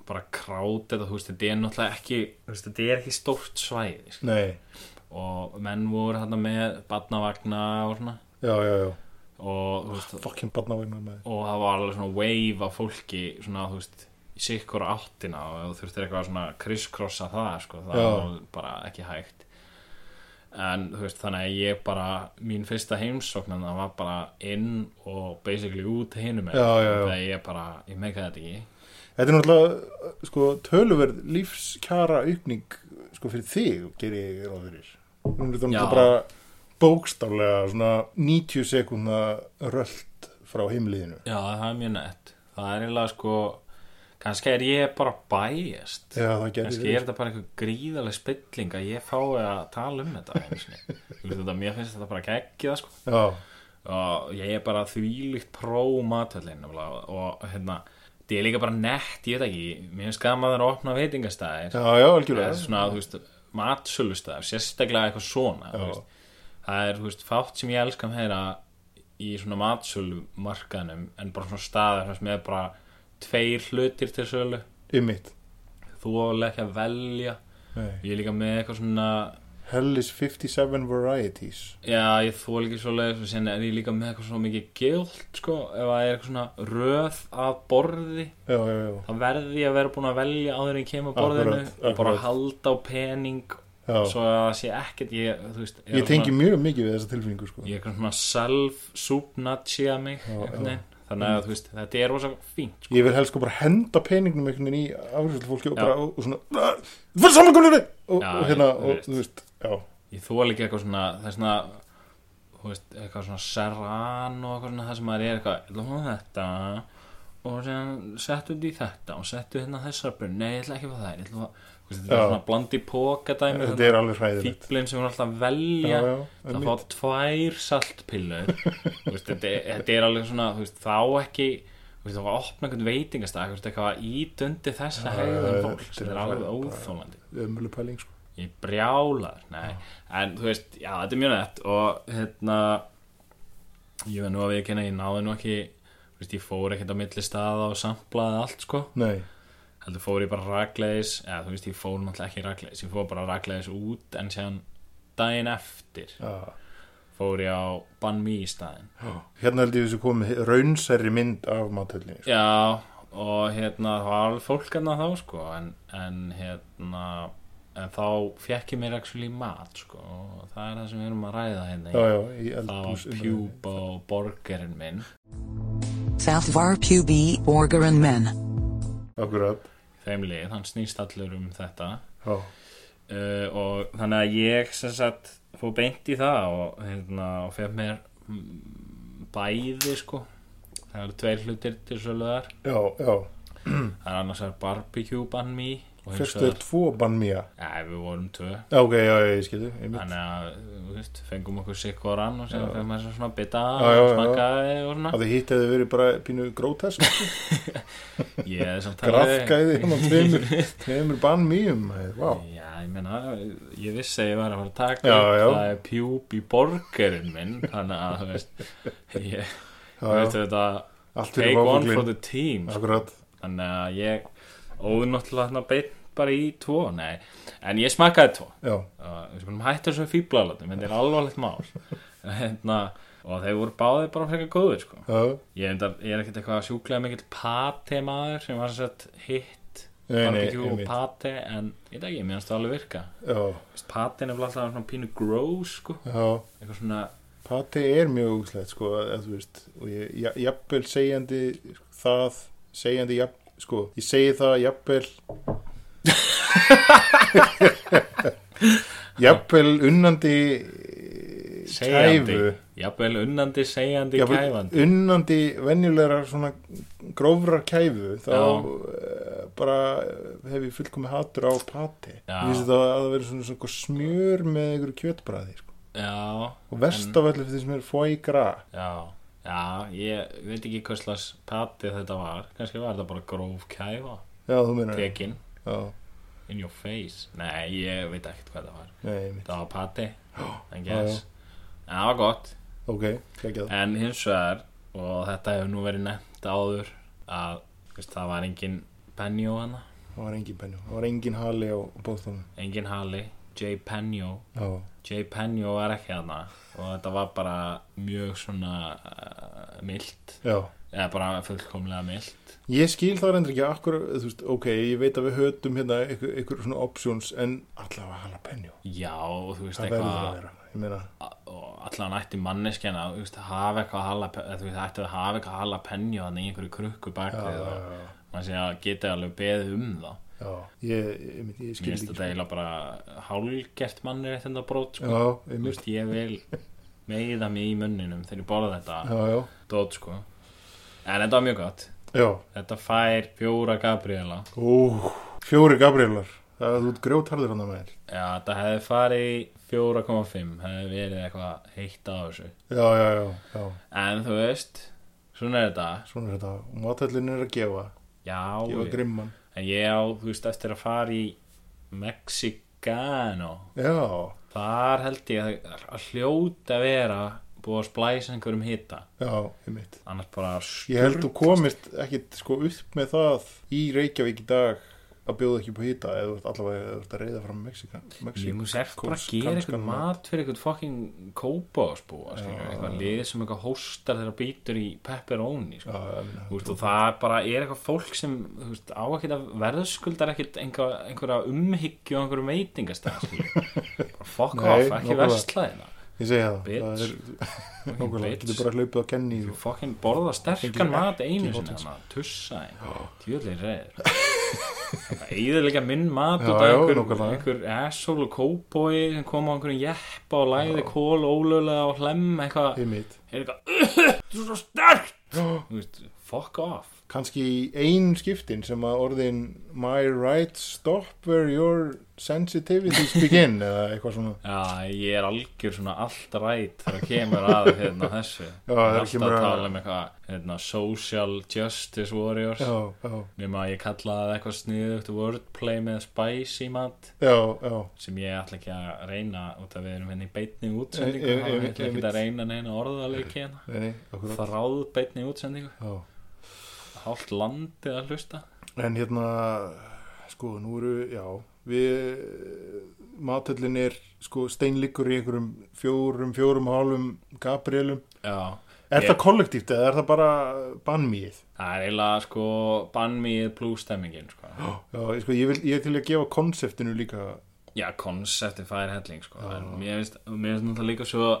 Speaker 5: bara krát þetta, þú veist, þetta er náttúrulega ekki þú veist, þetta er ekki stórt svæði sko.
Speaker 4: Nei,
Speaker 5: og menn voru hérna með barnavagna og svona
Speaker 4: já, já, já.
Speaker 5: og, þú veist,
Speaker 4: Fucking barnavagnar með
Speaker 5: og það var alveg svona wave af fólki svona þú veist í sikkur áttina og ef þú þurftir eitthvað svona kriskrossa það sko, það
Speaker 4: Já.
Speaker 5: var bara ekki hægt en þú veist þannig að ég bara mín fyrsta heimsókn en það var bara inn og basically út hinum megin.
Speaker 4: Já, já, já.
Speaker 5: þegar ég bara, ég meika þetta ekki
Speaker 4: Þetta er náttúrulega, sko, töluverð lífskjara aukning, sko, fyrir þig, gerir ég ráð fyrir. Nú er þetta
Speaker 5: Já.
Speaker 4: náttúrulega bara bókstaflega, svona 90 sekunda rölt frá heimliðinu.
Speaker 5: já það er mjög nett það er eiginlega sko kannski er ég bara bæjast
Speaker 4: Já, það gerir
Speaker 5: kannski er þetta bara einhver gríðarleg spilling að ég fái að tala um þetta einu sinni. Þú veist, þetta, mér finnst þetta bara geggjað sko.
Speaker 4: Já,
Speaker 5: og ég er bara þvílíkt pró matöllin og hérna, þetta er líka bara nett ég veit ekki, mér finnst gaman að það er að opna veitingastæðir
Speaker 4: já, já,
Speaker 5: Eða
Speaker 4: algjörlega.
Speaker 5: svona, þú veist, matsölustæðir sérstaklega eitthvað svona þú
Speaker 4: Já.
Speaker 5: veist. það er, þú veist, fátt sem ég elska meira í svona matsölumarkaðnum en bara svona staðar þar sem er bara tveir hlutir til sölu
Speaker 4: Ymmit.
Speaker 5: þú er ekki að velja
Speaker 4: Nei.
Speaker 5: ég er líka með eitthvað svona
Speaker 4: Hell is 57 varieties.
Speaker 5: já, ég þól ekki svo leiðis og sen er ég líka með eitthvað svo mikið gild sko, ef það er eitthvað svona röð af borði,
Speaker 4: Já, já, já.
Speaker 5: þá verði ég að vera búin að velja áður en ég kemur borðinu
Speaker 4: Akkurat,
Speaker 5: og bara
Speaker 4: akkurat.
Speaker 5: halda á pening
Speaker 4: já.
Speaker 5: svo að það sé ekkert ég, þú veist, er
Speaker 4: ég tengi
Speaker 5: svona,
Speaker 4: mjög mikið við þessa tilfinningu, sko.
Speaker 5: ég er eitthvað svona self-subnatja mig
Speaker 4: Já,
Speaker 5: einhvern
Speaker 4: já.
Speaker 5: veginn. þannig að þú veist, þetta er rosa fínt sko.
Speaker 4: Ég vil helst sko bara henda peningnum einhvern veginn í afriðsvöld fólki og
Speaker 5: Já.
Speaker 4: bara, og, og svona, "Ah, þú fyrir samankominu! Og,
Speaker 5: Já,
Speaker 4: og hérna,
Speaker 5: ég- þú
Speaker 4: og
Speaker 5: veist.
Speaker 4: þú veist, já.
Speaker 5: ég þól ekki eitthvað svona það er svona þú veist, eitthvað svona serran og eitthvað svona það sem maður er eitthvað, ég ætla að fá þetta og sem settu þetta í þetta og settu hérna þessar brunn, nei ég ætla ekki að fá það ég ætla að, fá- þú veist, þetta er
Speaker 4: Já.
Speaker 5: svona blandi póka dæmi
Speaker 4: Þetta er alveg hræðilegt.
Speaker 5: fíblin sem er alltaf að velja
Speaker 4: Já, já,
Speaker 5: það
Speaker 4: einmitt.
Speaker 5: fá tvær saltpillur Þú veist, þetta, er- þetta er alveg svona þú veist, þá ekki þú veist, þá að opna einhvern veitingastag þú veist, eitthvað ídundi þessa
Speaker 4: já,
Speaker 5: hegðun fólks
Speaker 4: þetta er
Speaker 5: þetta er
Speaker 4: alveg bara-
Speaker 5: alveg óþólandi
Speaker 4: ömuleg pæling sko.
Speaker 5: Ég brjálar, nei En þú veist, já, þetta er mjög nætt Og hérna Ég veit nú að við kynna, ég náði nú ekki Þú veist, ég fór ekkert á milli staða og samplaði allt, sko
Speaker 4: Nei,
Speaker 5: Heldur fór ég bara rakleðis Eða þú veist, ég fór náttúrulega ekki rakleðis Ég fór bara rakleðis út en séðan daginn eftir
Speaker 4: já,
Speaker 5: fór ég á Bann Mi í staðinn
Speaker 4: Hérna held ég þessu komið raunsæri mynd af matöldinni sko.
Speaker 5: Já, og hérna það var alveg fólk hérna þá sko en, en hérna en þá fekk ég mér actually mat sko og það er það sem við erum að ræða hérna í-
Speaker 4: Já, já, í
Speaker 5: það var
Speaker 4: eldhús
Speaker 5: pjúb á borgerinn minn
Speaker 6: Salvar Pubi Orgaran Men.
Speaker 4: Akkurat
Speaker 5: þeimlið, hann snýst allur um þetta
Speaker 4: Já,
Speaker 5: uh, og þannig að ég sem sagt fór beint í það og hérna og fekk mér mm, bæði sko það eru tveir hlutir til söluðar
Speaker 4: já, já
Speaker 5: það er annars er barbecue bann mý og hins
Speaker 4: Fyrstu er
Speaker 5: vegar-
Speaker 4: tvo bann mía
Speaker 5: Nei, við vorum tvö
Speaker 4: Já, ok, já, já, ég skilði Ég mynd
Speaker 5: Þannig að, þú veist, fengum okkur sikkoran og sér fengum maður svona bita
Speaker 4: Já, já,
Speaker 5: og
Speaker 4: já.
Speaker 5: smakkaði og svona
Speaker 4: að þið hitt hefði verið bara pínu grótes
Speaker 5: Ég er samt
Speaker 4: grafkæði hérna á tveimur tveimur bann mýjum Vá,
Speaker 5: Já, ég meina, ég vissi að ég var að fara að taka
Speaker 4: Já,
Speaker 5: upp,
Speaker 4: já.
Speaker 5: það er pjúb í borgerinn minn Þannig að, þú veist, ég, þú
Speaker 4: já.
Speaker 5: veist þetta
Speaker 4: allt fyrir
Speaker 5: Take one for
Speaker 4: váfuglin
Speaker 5: the team sko.
Speaker 4: Akkurat
Speaker 5: Þannig að ég óði náttúrulega þarna beint bara í tvo, nei En ég smakkaði tvo
Speaker 4: Já,
Speaker 5: og við skulum hættu þessu fíblalátum þetta er alvarlegt mál hérna, og þeir voru báðið bara frekar góður sko.
Speaker 4: já,
Speaker 5: ég, enda, ég er ekkert eitthvað sjúklega mikill pate maður sem var sett hitt
Speaker 4: Nei, nei,
Speaker 5: barbecue og
Speaker 4: einmitt.
Speaker 5: pate en ég veit ekki, mér finnst það alveg virka
Speaker 4: já,
Speaker 5: pate er vel alltaf svona pínu gross sko.
Speaker 4: já
Speaker 5: eitthvað svona
Speaker 4: Pati er mjög úslegt sko að þú veist og ég ja- jafnvel segjandi það segjandi jafn sko ég segi það jafnvel jafnvel unnandi
Speaker 5: segjandi
Speaker 4: kæfu
Speaker 5: jafnvel unnandi segjandi
Speaker 4: jafnvel
Speaker 5: kæfandi
Speaker 4: unnandi venjulegra svona grófrar kæfu þá
Speaker 5: Já.
Speaker 4: uh, bara hef ég fullkomi hatur á pati
Speaker 5: Já.
Speaker 4: ég vissi það að það verið svona, svona einhver smjör með einhverju kjötbræði sko.
Speaker 5: já,
Speaker 4: og verst af öllu fyrir því sem er fói gra
Speaker 5: já Já, ég veit ekki hvað slags pati þetta var, kannski var þetta bara gróf kæfa,
Speaker 4: Já, þú meinar
Speaker 5: tekin
Speaker 4: Já,
Speaker 5: In your face Nei, ég veit ekkert hvað það var
Speaker 4: nei, mitt
Speaker 5: Það var pati I guess En það var gott
Speaker 4: Ok, ekki það
Speaker 5: En hins vegar Og þetta hefur nú verið nefnt áður Að veist, það var engin Penjó hana
Speaker 4: Það var engin penjó, það var engin hali á bóðstónum
Speaker 5: Engin Hali J. Penjó
Speaker 4: Já,
Speaker 5: J. Penjó var ekki hana Og þetta var bara mjög svona uh, Milt
Speaker 4: já
Speaker 5: Eða bara fullkomlega milt
Speaker 4: Ég skil það reyndir ekki akkur, þú veist, ok, ég veit að við hötum hérna ykkur, ykkur svona options en allavega hala penjó
Speaker 5: Já, og þú veist
Speaker 4: Það verður að
Speaker 5: eitthvað
Speaker 4: vera, ég meina
Speaker 5: og allan ætti manneskjana þú veist, hafa eitthvað hala þú veist, ætti að hafa eitthvað hala penju þannig í einhverju krukku bak
Speaker 4: Já,
Speaker 5: þig
Speaker 4: já,
Speaker 5: og mann sé að geta alveg beðið um það
Speaker 4: já Ég, ég, ég, ég
Speaker 5: mér
Speaker 4: skil
Speaker 5: finnst
Speaker 4: ekki
Speaker 5: þetta eiginlega bara hálgert mannir eftir þetta brót sko.
Speaker 4: Já, ég
Speaker 5: Þú
Speaker 4: mist
Speaker 5: veist, ég vil meiða mig í munninum þegar ég borða þetta
Speaker 4: Já, já,
Speaker 5: dót sko en þetta var mjög gott
Speaker 4: já
Speaker 5: þetta fær fjóra Gabriela
Speaker 4: Ú, fjóri Gabrielar Það er þú grjótarður hann að maður
Speaker 5: já, þetta hefði farið í 4,5 hefði verið eitthvað heitt á þessu
Speaker 4: Já, já, já, já
Speaker 5: en þú veist, svona er þetta
Speaker 4: Svona er þetta, matællin er að gefa
Speaker 5: já,
Speaker 4: Gefa
Speaker 5: ég-
Speaker 4: grimman
Speaker 5: En ég á, þú veist, eftir að fara í Mexicano
Speaker 4: Já,
Speaker 5: Þar held ég að, að hljóta vera búið að splæsa einhverjum hita
Speaker 4: já, ég mitt
Speaker 5: Annars bara
Speaker 4: Ég held þú komist ekkit sko upp með það í Reykjavík í dag að bjóða ekki upp á hýta eða þú ert allavega eða þú ert að reyða fram Mexika
Speaker 5: Ég múið sér bara að gera eitthvað mat fyrir eitthvað fucking kópásbúa Eitthvað lið sem eitthvað hóstar þegar býtur í pepperoni sko. Þú veist, og það bara er eitthvað fólk sem þú veist, á ekkert að verðskuldar ekkert einhver, einhverja umhyggju og einhverju veitingastæð Fuck
Speaker 4: Nei,
Speaker 5: off, ekki
Speaker 4: nákvæmlega.
Speaker 5: verslaðina
Speaker 4: Ég segi það,
Speaker 5: Bitch.
Speaker 4: það er nákvæmlega,
Speaker 5: bitch.
Speaker 4: getur bara hlaupið á kenni
Speaker 5: Þú
Speaker 4: og
Speaker 5: fokkin borða sterkan
Speaker 4: Engin-
Speaker 5: mat einu
Speaker 4: engin
Speaker 5: sinni
Speaker 4: hotdogs.
Speaker 5: hana, tussa tjöðlega reyður Íðurlega minn mat
Speaker 4: Já,
Speaker 5: út af
Speaker 4: já,
Speaker 5: einhver,
Speaker 4: nákvæmlega.
Speaker 5: einhver asshole og kóboi sem kom á einhverjum jeppa og læði kól ólega og hlem eitthvað,
Speaker 4: ég mitt.
Speaker 5: er eitthvað "Ugh, Þú er svo sterkt Þú veist, Fuck off
Speaker 4: Kanski í ein skiptin sem að orðin My rights stop where your sensitivities begin eða eitthvað svona
Speaker 5: Já, ég er algjör svona allt rætt þegar kemur að hérna þessu
Speaker 4: Já,
Speaker 5: Ég er
Speaker 4: þegar
Speaker 5: alltaf
Speaker 4: kemur
Speaker 5: að
Speaker 4: að-
Speaker 5: tala um eitthvað hérna, social justice warriors
Speaker 4: Já, já,
Speaker 5: nema að ég kallaði það eitthvað sniðugt wordplay með spicy mat
Speaker 4: já, já,
Speaker 5: sem ég ætla ekki að reyna út að við erum henni í beinni
Speaker 4: Ég-
Speaker 5: útsendingu
Speaker 4: ég-
Speaker 5: og ég
Speaker 4: ég-
Speaker 5: ætla
Speaker 4: ég-
Speaker 5: ekki að reyna neina orðaleiki hérna
Speaker 4: nei, okkur
Speaker 5: þráð beinni útsendingu
Speaker 4: Já,
Speaker 5: hálft landið að hlusta
Speaker 4: en hérna sko, nú eru, já við matællin er sko steinliggur í einhverjum fjórum, fjórum og hálfum Gabrielum
Speaker 5: já
Speaker 4: Er
Speaker 5: Ég-
Speaker 4: það kollektíft eða er það bara bannmýið?
Speaker 5: Það er eiginlega sko bannmið plus stemmingin sko.
Speaker 4: Já, ég, sko, ég, vil, ég er til að gefa konseptinu líka
Speaker 5: Já, konsepti fær helling sko. En Mér finnst mér finnst náttúrulega líka svo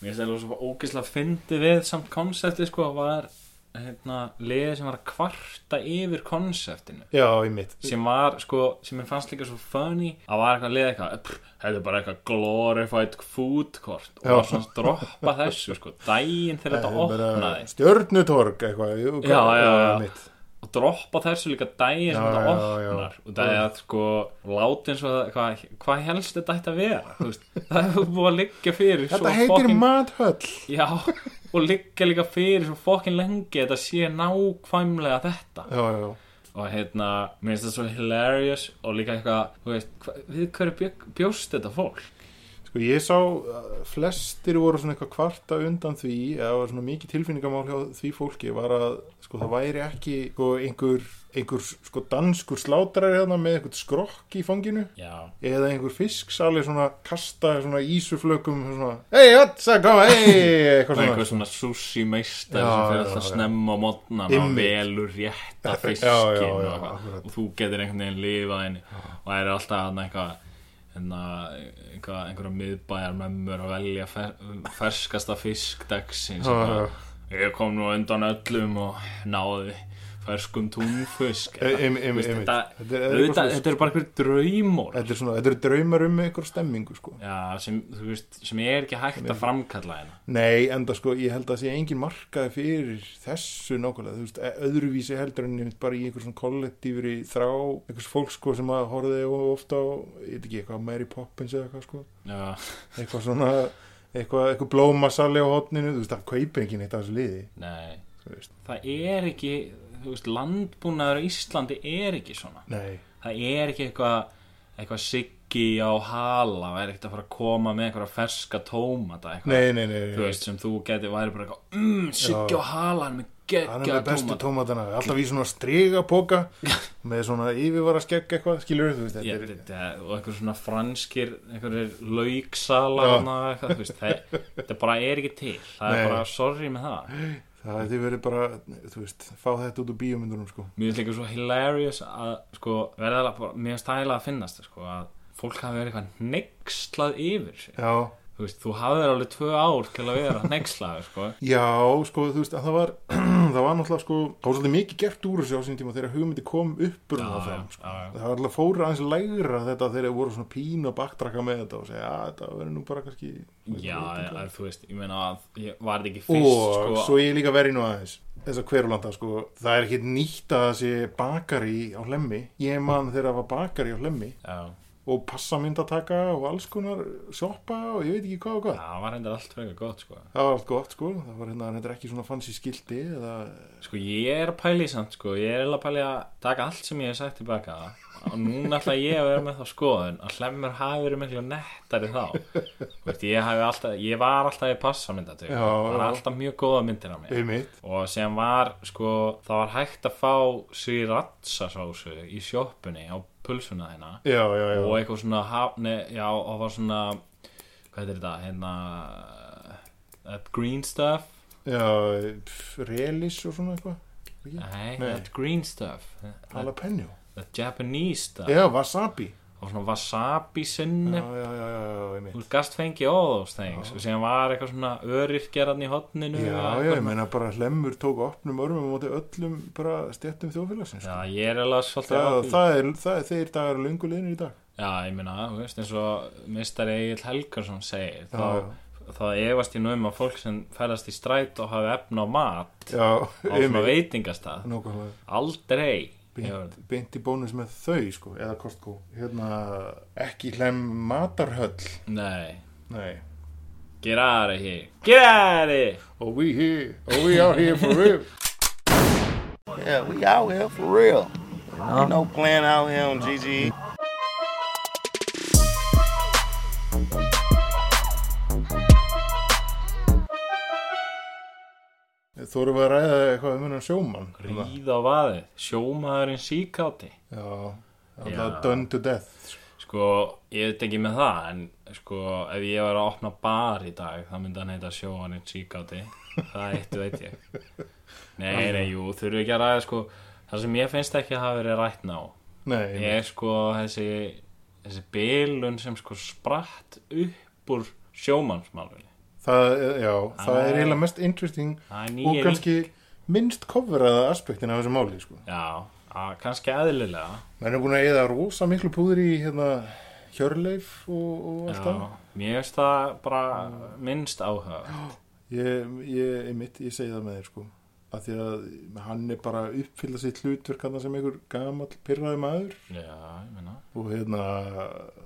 Speaker 5: Mér finnst eiginlega svo ógeðslega fyndi við samt konsepti sko var hérna, liðið sem var að kvarta yfir konseptinu
Speaker 4: Já, ég mitt
Speaker 5: sem var sko, sem mér fannst líka svo funny að var eitthvað að liða eitthvað pff, þetta er bara eitthvað glorified food court og
Speaker 4: Já.
Speaker 5: var svona að droppa þessu sko, daginn þegar þetta opnaði
Speaker 4: Stjörnutorg eitthvað jú,
Speaker 5: Já, já, já.
Speaker 4: mitt.
Speaker 5: og droppa þessu líka daginn sem
Speaker 4: Já,
Speaker 5: þetta
Speaker 4: já, já.
Speaker 5: opnar og það er að sko láti eins og það- hvað hva helst þetta ætti að vera þú veist, það hefur búið að liggja fyrir
Speaker 4: Þetta heitir
Speaker 5: fucking-
Speaker 4: mathöll
Speaker 5: já, og liggja líka fyrir svo fokkin lengi þetta sé nákvæmlega þetta
Speaker 4: Já, já, já
Speaker 5: og hérna, mér finnst það svo hilarious og líka eitthvað, þú veist, hva, við hverju bjó, bjóst þetta fólk?
Speaker 4: Sko ég sá að flestir voru svona eitthvað kvarta undan því eða var svona mikið tilfinningamál hjá því fólki var að sko það væri ekki sko, einhver, einhver sko danskur slátrar hérna með einhvern skrokk í fanginu
Speaker 5: Já,
Speaker 4: eða einhver fisk sali svona kasta svona ísuflökum svona hei, hotsa, koma, hei
Speaker 5: og
Speaker 4: eitthvað
Speaker 5: einhver
Speaker 4: svona
Speaker 5: svona sushi meistar
Speaker 4: Já,
Speaker 5: sem
Speaker 4: já,
Speaker 5: fyrir alltaf
Speaker 4: já.
Speaker 5: snemma á mótnan og
Speaker 4: Einmitt.
Speaker 5: velur rétta fiskin
Speaker 4: já,
Speaker 5: og,
Speaker 4: já,
Speaker 5: eitthvað.
Speaker 4: akkurat.
Speaker 5: og þú getur einhvern veginn lifað henni og það er alltaf hann eitthvað hérna, eitthvað- einhverja miðbæjar mömmur að velja fer, ferskasta fisk dagsins
Speaker 4: Já, já.
Speaker 5: eitthvað. ég kom nú undan öllum og náði ferskum túnfisk
Speaker 4: E- em- em-
Speaker 5: Þú veist,
Speaker 4: einmitt.
Speaker 5: þetta,
Speaker 4: Þetta er-
Speaker 5: auðvitað-
Speaker 4: eitthvað
Speaker 5: þetta er bara einhver draumor
Speaker 4: Þetta er svona, þetta eru draumar um einhver stemmingu sko
Speaker 5: Já, sem, þú veist, sem er ekki hægt að framkalla hérna
Speaker 4: Nei, enda sko, ég held að sé engin markaði fyrir þessu nákvæmlega, þú veist, e- öðruvísi heldur en nefnt bara í einhver svona kollektífri þrá, einhvers fólk sko sem að horfði of- ofta á, ég veit ekki, eitthvað Mary Poppins eða eitthvað sko,
Speaker 5: Já,
Speaker 4: eitthvað svona, eitthvað, eitthvað blómasali á hotninu, þú veist, það kaupir ekki neitt af þessu liði,
Speaker 5: nei
Speaker 4: þú veist.
Speaker 5: það er ekki þú veist, landbúnaður á Íslandi er ekki svona
Speaker 4: Nei,
Speaker 5: það er ekki eitthvað eitthvað siggi á hala það er ekkert að fara að koma með eitthvað ferska tómata eitthvað,
Speaker 4: nei, nei, nei,
Speaker 5: þú
Speaker 4: nei.
Speaker 5: veist, sem þú geti væri bara eitthvað, mm, siggi á hala hann er með
Speaker 4: hann er
Speaker 5: geggja
Speaker 4: með bestu
Speaker 5: tómata
Speaker 4: tómatana, alltaf í svona strigapoka, með svona yfirvara skegg eitthvað, skilur þú veist, þetta
Speaker 5: Ég,
Speaker 4: er,
Speaker 5: þetta, og eitthvað svona franskir einhverjir lauksala
Speaker 4: Já.
Speaker 5: hana, eitthvað, þú veist, það, þetta bara er ekki til það
Speaker 4: Nei.
Speaker 5: er bara sorry með það
Speaker 4: það hefði verið bara, þú veist, fá þetta út úr bíómyndunum sko.
Speaker 5: Mér finnst líka svo hilarious að sko, verða alveg bara, mér finnst það eiginlega að finnast sko, að fólk hafi verið eitthvað neykslað yfir sig.
Speaker 4: Já,
Speaker 5: Þú veist, þú hafið alveg tvö ár til að vera neykslaður, sko.
Speaker 4: Já, sko, þú veist, að það var það var náttúrulega, sko, þá var svolítið mikið gert úr þessu á sín tíma þegar hugmyndi kom upp úr
Speaker 5: Já,
Speaker 4: það
Speaker 5: já,
Speaker 4: fram, sko.
Speaker 5: já, já.
Speaker 4: Það var alltaf fóru aðeins lægra þetta þegar þeir voru svona pín og baktraka með þetta og segja, að þetta verður nú bara kannski Veitum
Speaker 5: Já, að,
Speaker 4: hvað.
Speaker 5: þú veist, ég meina að ég var þetta ekki
Speaker 4: Og
Speaker 5: fyrst, sko.
Speaker 4: svo ég líka verið nú aðeins þess að hverjulanda, sko, það er ekkit nýtt að það sé bakari á hlemmi ég man þegar það var bakari á hlemmi
Speaker 5: Já,
Speaker 4: og passamyndataka og alls konar sjoppa og ég veit ekki hvað og hvað
Speaker 5: það var hendur allt frekar gott, sko.
Speaker 4: Það var allt gott, sko, það var hérna, þetta er ekki svona fancy skildi eða,
Speaker 5: Sko, ég er að pæli samt, sko, ég er eiginlega að pæli að taka allt sem ég hef sagt tilbaka og núna ætla ég að vera með þá skoðun að hlemmur hafi verið miklu nettari þá Þú veist, ég, hafi alltaf, ég var alltaf í passamyndatöku
Speaker 4: Já,
Speaker 5: það var
Speaker 4: já.
Speaker 5: alltaf mjög góða myndir á mér
Speaker 4: einmitt
Speaker 5: og sem var sko, það var hægt að fá sriratsasósu í sjoppunni á pulsuna þeina
Speaker 4: Já, já, já.
Speaker 5: og eitthvað svona hafni, já, og var svona hvað heitir þetta, hérna that green stuff
Speaker 4: Já, pff, relis og svona eitthvað Ekki?
Speaker 5: nei,
Speaker 4: Nei.
Speaker 5: that green stuff that,
Speaker 4: Jalapeno
Speaker 5: that Japanese stuff
Speaker 4: Já, wasabi
Speaker 5: og svona wasabi
Speaker 4: Já,
Speaker 5: sinni
Speaker 4: já, já, já, já, ég
Speaker 5: þú
Speaker 4: meint
Speaker 5: veist, gast fengi all those things og sem var eitthvað svona öryrkjaran í hotninu
Speaker 4: Já,
Speaker 5: og
Speaker 4: já,
Speaker 5: eitthvað
Speaker 4: ég meina bara hlemmur tók opnum örmum á móti öllum bara stjættum þjóðfélagsins
Speaker 5: Já,
Speaker 4: sko.
Speaker 5: ég er alveg svolítið á
Speaker 4: það,
Speaker 5: því.
Speaker 4: það, er, það er þeir dagar eru löngu liðinu í dag
Speaker 5: Já, ég meina, þú veist, eins og mistari Egil Helgarsson segir þá,
Speaker 4: Já,
Speaker 5: þá efast ég nú um að fólk sem ferðast í stræt og hafi efna á mat
Speaker 4: Já,
Speaker 5: á
Speaker 4: ég
Speaker 5: svona
Speaker 4: meint
Speaker 5: veitingastað
Speaker 4: Nókvæmlega
Speaker 5: aldrei hefur-
Speaker 4: beint, beint í bónus með þau sko, eða Costco hérna, ekki hlemm matarhöll
Speaker 5: Nei,
Speaker 4: nei,
Speaker 5: get out of here Get out of here
Speaker 4: og we here og we are here for real
Speaker 7: Yeah, we out here for real. Ain't no plan out here on E. GGE.
Speaker 4: þú erum að ræða eitthvað um hennan sjómann
Speaker 5: Ríð á vaðið, sjómaðurinn síkáti
Speaker 4: Já,
Speaker 5: Já.
Speaker 4: það er done to death sko.
Speaker 5: Sko, ég veit ekki með það en sko, ef ég var að opna bar í dag þá myndi hann heita sjóaninn síkáti það eitt veit ég Nei, nei, jú, þurfi ekki að ræða sko, það sem ég finnst ekki að hafa verið rætt ná
Speaker 4: Nei,
Speaker 5: ég er sko þessi þessi bilun sem sko spratt upp úr sjómannsmálunni
Speaker 4: það, er- já, það
Speaker 5: Ah.
Speaker 4: er eiginlega mest interesting
Speaker 5: Það er
Speaker 4: og
Speaker 5: nýja
Speaker 4: kannski minnst kofraða aspektin af þessu máli sko.
Speaker 5: Já, að, kannski eðlilega
Speaker 4: menn er búin að eða rosa miklu púður í hérna, hjörleif og, og allt það
Speaker 5: Já, mér finnst það bara minnst áhuga
Speaker 4: ég, ég, einmitt, ég segi það með þér sko að því að hann er bara að uppfylla sitt hlutverk hann sem einhver gamall pyrraði maður
Speaker 5: Já, ég meina
Speaker 4: og hérna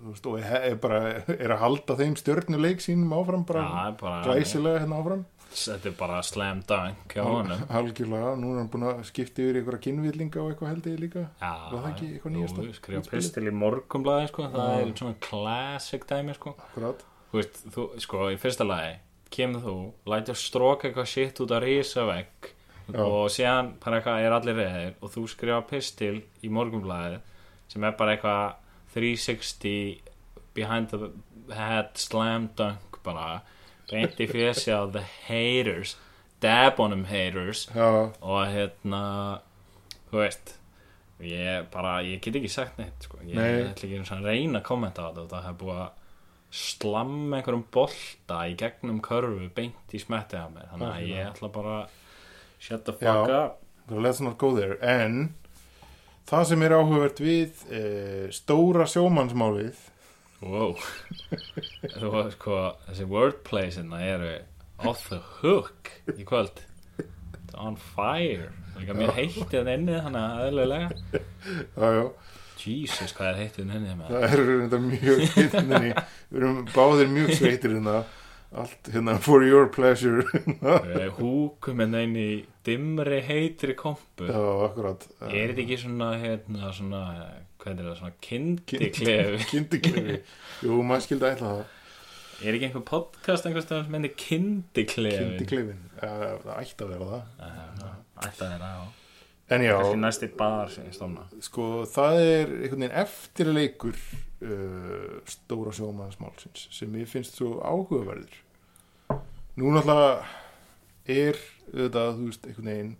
Speaker 4: þú veist, og he- er bara er að halda þeim stjörnuleik sínum áfram
Speaker 5: Já,
Speaker 4: bara
Speaker 5: er bara-
Speaker 4: glæsilega hérna áfram
Speaker 5: Þetta er bara slam dunk hjá honum
Speaker 4: algjörlega, núna er hann búin að skipta yfir í einhverja kynvillinga og eitthvað held ég líka
Speaker 5: Já,
Speaker 4: var það ekki eitthvað nýjasta
Speaker 5: Jú, skrifa pistil í morgumblaði sko, það er svona classic dæmi sko
Speaker 4: akkurat,
Speaker 5: Þú veist, þú, sko, í fyrsta lagi kemur þú, lætur stróka eitthvað shit út að rísa vekk og síðan bara eitthvað er allir reyðir og þú skrifa pistil í morgumblaðið sem er bara eitthvað 360 behind the head slam dunk bara beint í fjösi á the haters dab on them haters
Speaker 4: já,
Speaker 5: og hérna þú veist ég bara, ég get ekki sagt neitt sko. ég
Speaker 4: Nei.
Speaker 5: ætla ekki einu sinni að reyna að kommenta á þetta það hefur búið að slamma einhverjum bolta í gegnum körfu beint í smettið á mér þannig að ég ætla bara að shut the fuck
Speaker 4: Já.
Speaker 5: up
Speaker 4: so let's not go there en það sem er áhugavert við e, stóra sjómannsmálið
Speaker 5: wow þú veist sko, þessi wordplay sinna eru off the hook í kvöld It's on fire líka mér heitti það inni þannig að aðlega
Speaker 4: já, já,
Speaker 5: Jesus hvað er heittið inni með
Speaker 4: það eru þetta mjög hittinni, við erum báðir mjög sveitir hérna, allt hérna for your pleasure já,
Speaker 5: Eh, húkum en einn í dimmri heitri kompu
Speaker 4: akkurat Eh,
Speaker 5: er þetta ekki svona hérna svona eh, hvað er það svona kindiklefi
Speaker 4: kindiklefi, jú, maður skildi ætla það
Speaker 5: er ekki einhver podcast einhvers staðar sem henni kindiklefi
Speaker 4: kindiklefin, uh, það ætti að vera
Speaker 5: Ah,
Speaker 4: það
Speaker 5: ætla þeirra á
Speaker 4: en já,
Speaker 5: kannski næsti bar sem ég stofna
Speaker 4: sko það er einhvern veginn eftirleikur uh, stóra sjómaðansmálsins sem ég finnst svo áhugaverður nú náttúrulega er þetta, þú veist, einhvern veginn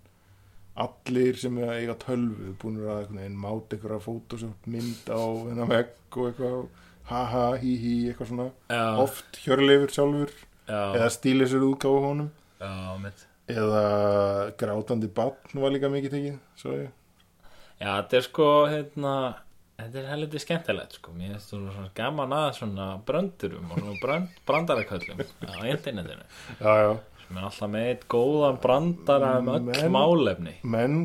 Speaker 4: allir sem er að eiga tölvu búinur að einhvern veginn máta einhverja fótosjótt mynd á hennar vegg og eitthvað haha, hí hí, eitthvað svona
Speaker 5: Já.
Speaker 4: oft hjörleifur sjálfur
Speaker 5: já,
Speaker 4: eða stíli sér útgáfa honum
Speaker 5: já, mitt
Speaker 4: eða grátandi barn var líka mikið tekið svo ég
Speaker 5: já, þetta er sko hérna þetta er helviti skemmtilegt sko mér finnst þú svona gaman að svona bröndurum og svona brönd, brandaraköllum á internetinu
Speaker 4: já, já.
Speaker 5: sem er alltaf með eitt góðan brandara um öll
Speaker 4: Men-
Speaker 5: málefni
Speaker 4: menn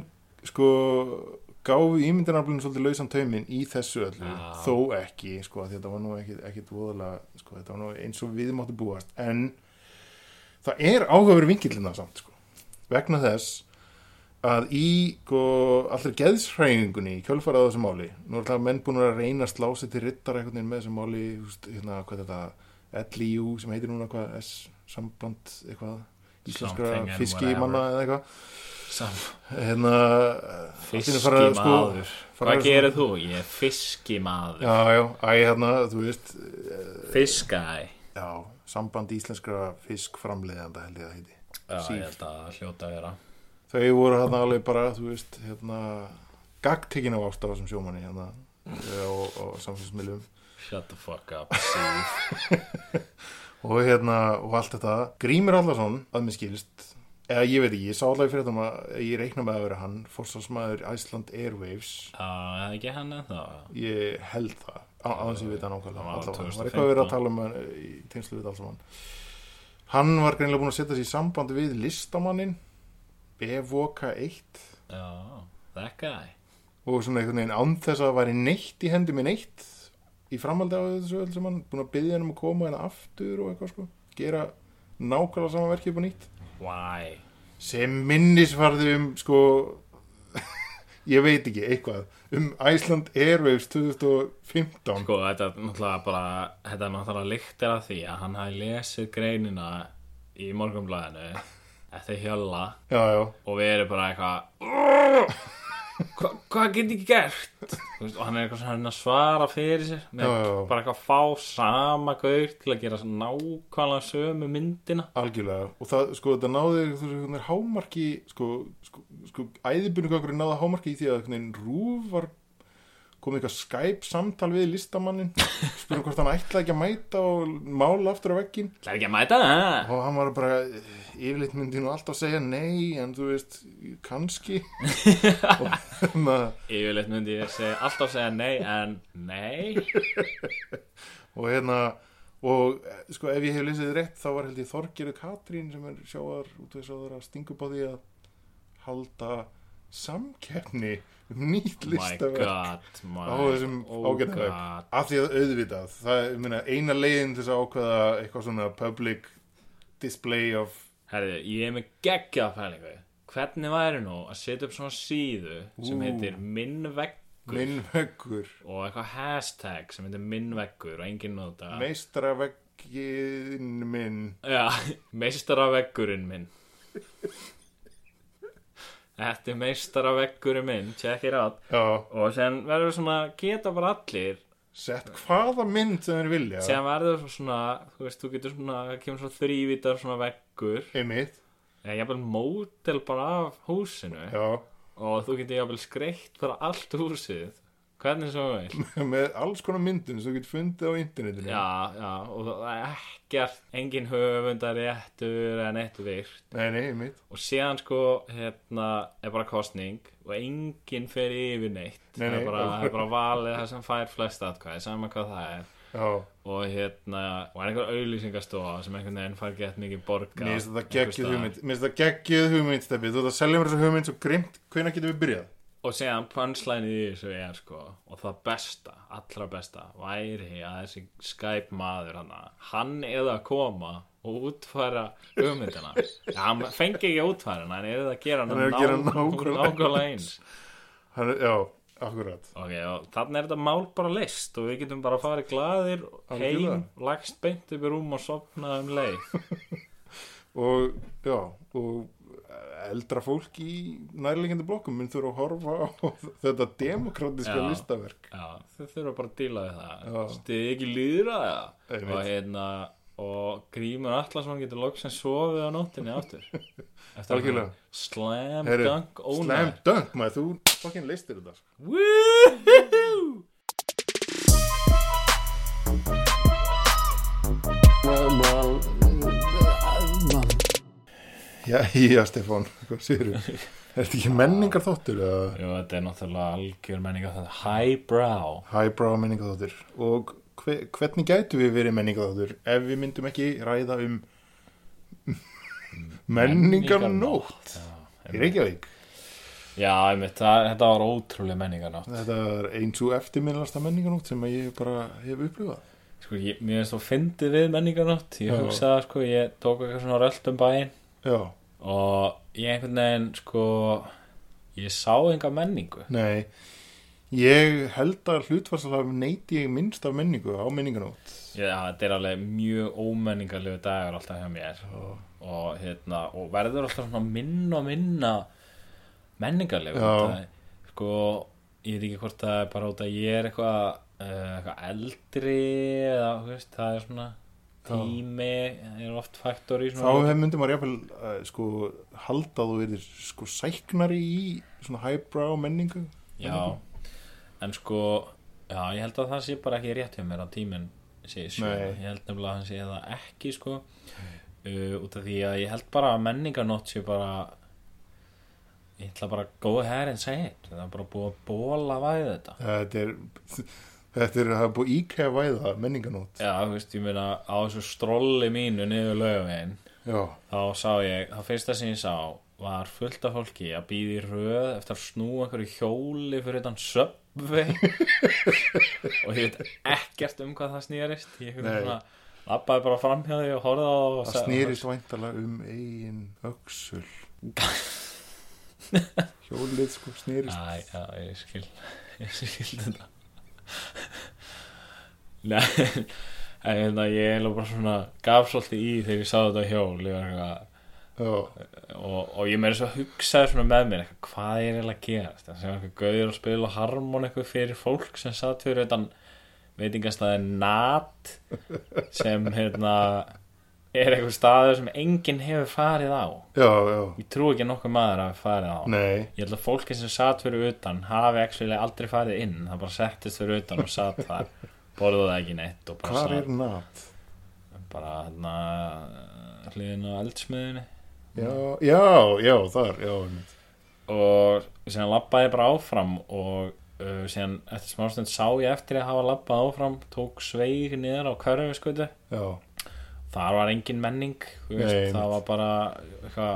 Speaker 4: sko gáfu ímyndarnaflunum svolítið lausan tauminn í þessu öllu þó ekki, sko, af því þetta var nú ekkit, ekkit voðalega, sko, þetta var nú eins og við máttu búast, en það er áhugaveru vinkillina samt, sko vegna þess að í sko, allir geðsræðingunni í kjölfarað á þessu máli nú er alltaf menn búin að reyna að slá sér til rittara einhvern veginn með þessu máli þú veist, hérna, hvað er þetta, LIU sem heitir núna hvað, S, sambland eitthvað, íslenskra
Speaker 5: Something and
Speaker 4: fiskimanna eða eitthvað
Speaker 5: saman
Speaker 4: hérna allt í einu fara að, sko,
Speaker 5: Fiskimaður
Speaker 4: fara
Speaker 5: Hvað
Speaker 4: að-
Speaker 5: gerir þú? Ég er fiskimaður
Speaker 4: já, já, æ, hérna, þú veist
Speaker 5: Fiskæ
Speaker 4: já, samband íslenskra fiskframleiðanda held ég að heiti
Speaker 5: Já,
Speaker 4: Síld.
Speaker 5: ég held að hljóta að vera
Speaker 4: þau voru hérna alveg bara, þú veist hérna, gaggtekin á ástafa sem sjómanni hérna eh, og, og samfélsmiðlum
Speaker 5: Shut the fuck up Steve.
Speaker 4: og hérna, og allt þetta Grímur Allarsson, að mér skilst eða ég veit ekki, ég sá allaveg fyrir þetta um að ég reikna með að vera hann, fórsvarsmaður Iceland Airwaves
Speaker 5: Já, er það ekki hann ennþá
Speaker 4: ég held það á aðeins ég veit það nákvæmlega
Speaker 5: Það var
Speaker 4: allavega, það var
Speaker 5: 2015.
Speaker 4: eitthvað að vera að tala um hann, eh, í tengslu við alls saman hann var greinlega búin að setja sér í samband við listamannin Evoka 1
Speaker 5: Já, that guy
Speaker 4: og svona einhvern veginn án þess að það væri neitt í hendi með neitt í framhaldi á þessu öll sem hann búin að byggja hann um að koma hérna aftur og eitthvað sko gera nákvæmlega sama verkið upp á nýtt
Speaker 5: Why?
Speaker 4: sem minnisvarði um sko ég veit ekki eitthvað um Iceland Airwaves 2015
Speaker 5: Sko, þetta er náttúrulega bara Þetta er náttúrulega lyktir af því að hann hafi lesið greinina í morgunblæðinu eftir hjölla
Speaker 4: já já
Speaker 5: og við erum bara eitthvað hva, hvað get ég ekki gert Þú veist, og hann er eitthvað svona að svara fyrir sér
Speaker 4: Já,
Speaker 5: með
Speaker 4: já, já.
Speaker 5: bara eitthvað að fá sama gaur til að gera svona nákvæmlega sömu myndina
Speaker 4: Algjörlega, og það, sko, þetta náði þú veist, einhvern veginn hámarki, sko, sko, sko æðibunugangurinn náði hámarki í því að einhvern veginn Rúf var komið eitthvað Skype samtal við listamannin spyrum hvort hann ætlaði ekki að mæta og mála aftur á veggin
Speaker 5: Það er ekki að mæta það
Speaker 4: og hann var bara eh, yfirleitt myndi nú alltaf segja nei en þú veist, kannski og hérna, þannig að
Speaker 5: Yfirleitt myndi ég segja, alltaf segja nei en nei
Speaker 4: og hérna og eh, sko ef ég hef lesið rétt þá var held ég Þorgeru Katrín sem er sjáar út við sjáar að stinga upp á því að halda samkeppni um nýtt
Speaker 5: Oh My
Speaker 4: listaverk
Speaker 5: god my,
Speaker 4: á þessum
Speaker 5: oh
Speaker 4: ágæta
Speaker 5: god.
Speaker 4: verk af því að auðvitað það er minna, eina leiðin til þess að ákveða eitthvað svona public display of
Speaker 5: Herðu, ég er með geggjað pælingu Hvernig væri nú að setja upp svona síðu sem heitir minnveggur
Speaker 4: minnveggur
Speaker 5: og eitthvað hashtag sem heitir minnveggur og enginn nota
Speaker 4: meistraveggin minn
Speaker 5: Já, meistaravegurinn minn Þetta er meistaravegurinn minn, check it out
Speaker 4: já,
Speaker 5: Og sem verður svona, geta bara allir
Speaker 4: sett hvaða mynd sem þeir vilja
Speaker 5: sem verður svona, þú veist, þú getur svona það kemur svona þrývítar svona veggur
Speaker 4: einmitt,
Speaker 5: eða jafnvel mótel bara af húsinu
Speaker 4: já
Speaker 5: og þú getur jafnvel skreitt bara allt húsið hvernig sem þú veist
Speaker 4: með alls konar myndum sem þú getur fundið á internetinu
Speaker 5: Já, já, og það er ekkert engin höfundar réttur en eitt virt
Speaker 4: Nei, nei, mitt
Speaker 5: og síðan sko hérna er bara kostning og enginn fer yfir neitt
Speaker 4: Nei,
Speaker 5: það
Speaker 4: nei.
Speaker 5: er bara, það er bara valið það sem fær flest atkvæði saman hvað það er
Speaker 4: Já,
Speaker 5: og hérna, og er einhver auðlýsingastofa sem einhvern veginn fær gett mikið borga
Speaker 4: mér finnst þetta
Speaker 5: einhvers
Speaker 4: geggjuð
Speaker 5: staðar.
Speaker 4: hugmynd Mér finnst þetta geggjuð hugmynd, Steppi Þú ert að selja mér þessu hugmynd svo grimt Hvenær getum við byrjað?
Speaker 5: og síðan punchline í þessu er sko og það besta, allra besta væri að þessi Skype maður hana, hann eða að koma og útfæra hugmyndina ja, hann fengi ekki að útfæra hana hann eða að gera hana
Speaker 4: Hann er að gera
Speaker 5: nák-
Speaker 4: nákvæmlega
Speaker 5: nákvæmlega eins
Speaker 4: Hann, já, akkurat
Speaker 5: ok, og þannig er þetta mál bara list og við getum bara að fara glaðir
Speaker 4: Algjörlega.
Speaker 5: heim, lagst beint upp í rúm og sopnað um leið
Speaker 4: Og, já, og eldra fólk í nærlegjandi blokkum mun þurfa að horfa á þetta demokratiska
Speaker 5: Já.
Speaker 4: listaverk
Speaker 5: Já, þau þurfa bara að díla við það
Speaker 4: Já.
Speaker 5: Stuði ekki líðra það
Speaker 4: Einmitt.
Speaker 5: Og hérna Og Grímur Allarsson getur loksins sofið á nóttinni aftur Eftir að
Speaker 4: Algjörlega.
Speaker 5: hann Slam
Speaker 4: Heyrðu,
Speaker 5: dunk
Speaker 4: Slam
Speaker 5: ónar
Speaker 4: dunk, maður, þú fucking leistir þetta sko.
Speaker 5: Woohoo
Speaker 4: Já, já, Stefán, hvað séru? Er þetta ekki menningar þóttur?
Speaker 5: Jú, þetta er náttúrulega algjör menninga þetta Highbrow
Speaker 4: Highbrow menningaþáttur og hve, hvernig gætu við verið menningaþáttur ef við myndum ekki ræða um menningarnótt
Speaker 5: Já,
Speaker 4: í Reykjavík
Speaker 5: Já, einmitt, það, þetta var ótrúlega menningarnótt
Speaker 4: þetta er eins og eftirminnlasta menningarnótt sem að ég bara hef upplifað
Speaker 5: Sko, ég, mér finnst þú fyndið við menningarnótt Ég hugsaði, sko, ég tók eitthvað svona rölt um bæinn
Speaker 4: já,
Speaker 5: og ég einhvern veginn sko ég sá enga menningu
Speaker 4: nei ég held að hlutfarslega neyti ég minnst af menningu á menningarnótt
Speaker 5: Já, þetta er alveg mjög ómenningarlegu dagur alltaf hjá mér og, hérna, og verður alltaf svona minna og minna menningarlegu
Speaker 4: Já.
Speaker 5: Það er- sko, ég veit ekki hvort það er bara út að ég er eitthvað uh, eitthvað eldri eða þú veist, það er svona tími er oft faktor í
Speaker 4: þá
Speaker 5: svona
Speaker 4: hef myndum að jafnvel uh, sko halda að þú verið sko sæknari í svona highbrow menningu
Speaker 5: Já, en sko Já, ég held að það sé bara ekki rétt hjá mér á tíminn sé sjö,
Speaker 4: Nei.
Speaker 5: ég held nefnilega að hann sé það ekki sko uh, út af því að ég held bara að menningarnótt sé bara ég ætla bara að góða herr en segja það er bara búið að bóla væði þetta
Speaker 4: þetta er þetta er það er búið íkæða væða menningarnótt
Speaker 5: Já, þú veist, ég meina á þessu strolli mínu niður löguminn
Speaker 4: já
Speaker 5: þá sá ég, þá fyrsta sem ég sá var fullt af fólki að býði röð eftir að snúa einhverju hjóli fyrir utan söpvei og ég veit ekkert um hvað það snýrist ég einhvern
Speaker 4: Nei.
Speaker 5: veginn svona labbaði bara framhjá því og horfði á það og
Speaker 4: Það snýrist væntalega um eigin öksul Hjólið sko snýrist
Speaker 5: Æ, já, ég skil ég skil þetta Nei, en hérna, ég er eiginlega bara svona gaf svolítið í þegar ég sá þetta hjól ég var eitthvað
Speaker 4: já,
Speaker 5: og, og ég meira svo að hugsaði svona með mér eitthvað, hvað er eiginlega að gera það sem eitthvað gauður að spila harmon eitthvað fyrir fólk sem satt fyrir utan veitingastæði NAT sem hérna er eitthvað staður sem enginn hefur farið á
Speaker 4: já, já,
Speaker 5: ég trú ekki að nokkuð maður að farið á
Speaker 4: nei
Speaker 5: ég held að fólki sem satt fyrir utan hafi actually aldrei farið inn það bara settist fyrir utan og satt þar borðaði ekki neitt og bara
Speaker 4: Hvar er
Speaker 5: satt
Speaker 4: nat?
Speaker 5: bara hérna hliðin á eldsmiðinni
Speaker 4: Já, já, já, þar, já, einmitt.
Speaker 5: og síðan labbaði ég bara áfram og uh, síðan eftir smástund sá ég eftir að hafa labbað áfram tók sveig niður á körfi
Speaker 4: já,
Speaker 5: þar var engin menning þú
Speaker 4: Nei,
Speaker 5: veist, það var
Speaker 4: einmitt.
Speaker 5: bara eitthvað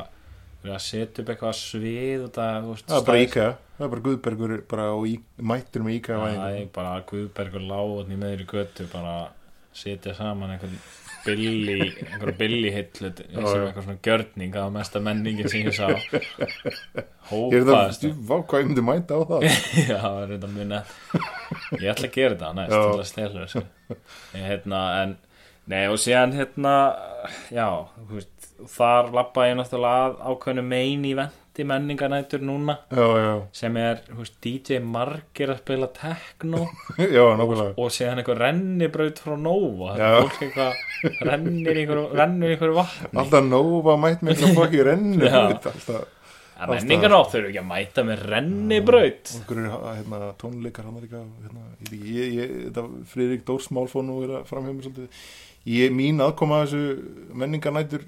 Speaker 5: verið að setja upp eitthvað svið og það, þú veist,
Speaker 4: það er bara
Speaker 5: stærð-
Speaker 4: íka, það er bara Guðbergur bara á í, mættur um með íka
Speaker 5: það er bara Guðbergur láðin í meðri götu bara setja saman einhvern billi, einhverja billi hillu sem
Speaker 4: já.
Speaker 5: eitthvað svona gjörning það var mesta menningin sem ég sá
Speaker 4: Ég er það,
Speaker 5: hópaðist
Speaker 4: þú, vá, hvað ég myndi mæta á það?
Speaker 5: Já, það er þetta mun Ég ætla að gera þetta næst,
Speaker 4: Já.
Speaker 5: ég ætla að stela þessu Ég, hérna, en Nei, og síðan, hérna Já, þú veist, þar labba ég náttúrulega að ákveðnu mein í vendi menninganætur núna
Speaker 4: Já, já,
Speaker 5: sem er, þú veist, DJ Margir að spila techno
Speaker 4: já, nákvæmlega,
Speaker 5: og síðan einhver rennibraut frá Nova
Speaker 4: Já.
Speaker 5: fólk eitthvað rennir í einhverju, rennur í einhverju vatni
Speaker 4: alltaf nófa mætt með eitthvað fokki rennu,
Speaker 5: Já.
Speaker 4: alltaf,
Speaker 5: en menningar á þau eru ekki að mæta með rennibraut
Speaker 4: okkur er, hérna, tónleikar hann er líka, hérna, ég veit ekki, ég, ég, þetta Friðrik Dórs málfón og er að framhjá mér svolítið, ég, mín aðkoma að þessu menningarnætur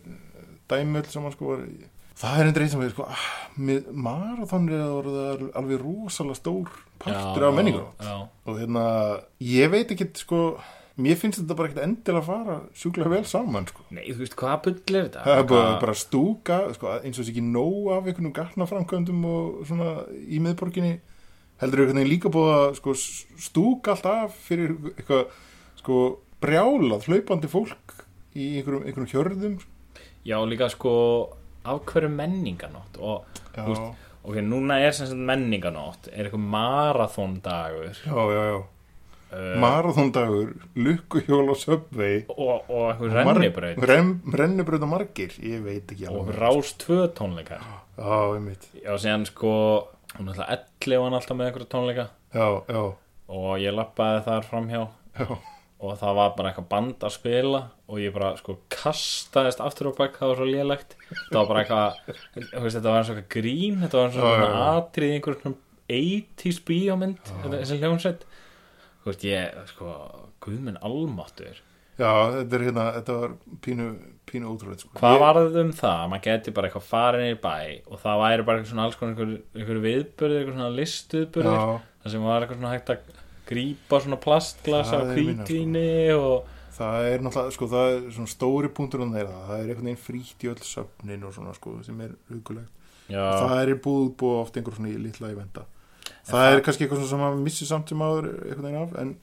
Speaker 4: dæmjöld sem hann sko var, það er endur eitt sem við, sko, ah, með marathon er það orðið alveg rosalega stór partur af menningarnætt.
Speaker 5: já,
Speaker 4: og hérna, ég veit ekki sko, mér finnst þetta bara ekkert endilega að fara sjúklega vel saman sko.
Speaker 5: Nei, þú veist, hvaða bull er þetta?
Speaker 4: það er bara,
Speaker 5: Hvað-
Speaker 4: bara stúka sko, eins og þessi ekki nóg af einhvernum gatnaframkvæmdum og svona í miðborginni heldur einhvern veginn líka búið að sko, stúka allt af fyrir eitthvað sko, brjálað hlaupandi fólk í einhverjum, einhverjum hjörðum sko.
Speaker 5: Já, líka sko af hverju menninganótt og
Speaker 4: já,
Speaker 5: Úst. ok, núna er sem sagt menninganótt er eitthvað marathondagur
Speaker 4: já, já, já.
Speaker 5: Eh.
Speaker 4: Uh, marathondagur, lukkuhjól og söpvei
Speaker 5: og, og eitthvað rennibraut
Speaker 4: rennibraut og margir, ég veit ekki
Speaker 5: og
Speaker 4: alveg
Speaker 5: rás tvö tónleikar
Speaker 4: já, einmitt
Speaker 5: Já, síðan sko hún ætla elli og hann alltaf með einhverja tónleika
Speaker 4: já, já,
Speaker 5: og ég lappaði þar framhjá
Speaker 4: já
Speaker 5: og það var bara eitthvað band að spila og ég bara sko kastaðist aftur á bak það var svo lélegt það var bara eitthvað, þú veist, þetta var eins og eitthvað grín þetta var eins
Speaker 4: Já,
Speaker 5: og
Speaker 4: já,
Speaker 5: eitthvað
Speaker 4: já.
Speaker 5: atrið í einhverjum 80s bíómynd þetta- þessi hljómsveit þú veist ég, sko, guðminn almáttur
Speaker 4: Já, þetta er hérna, þetta var pínu, pínu ótrúlega sko.
Speaker 5: hvað
Speaker 4: Ég-
Speaker 5: var það um það, að maður geti bara eitthvað farin í bæ og það væri bara eitthvað svona alls konar einhver, einhver viðbörði, einhver svona listuðbörði
Speaker 4: Já.
Speaker 5: það sem var eitthvað svona hægt að grípa svona plastglasa
Speaker 4: Það
Speaker 5: og
Speaker 4: er minna, sko.
Speaker 5: kvítvíni og
Speaker 4: Það er náttúrulega, sko, það er svona stóri punktur um þeirra, það er einhvern veginn frýtt í öll söfnin og svona, sko, sem er hugulegt.
Speaker 5: Já.
Speaker 4: Það er búið búið oft einhver svona í litla í venda. Það er kannski eitthvað svona sem maður missir samt sem maður einhvern veginn af, en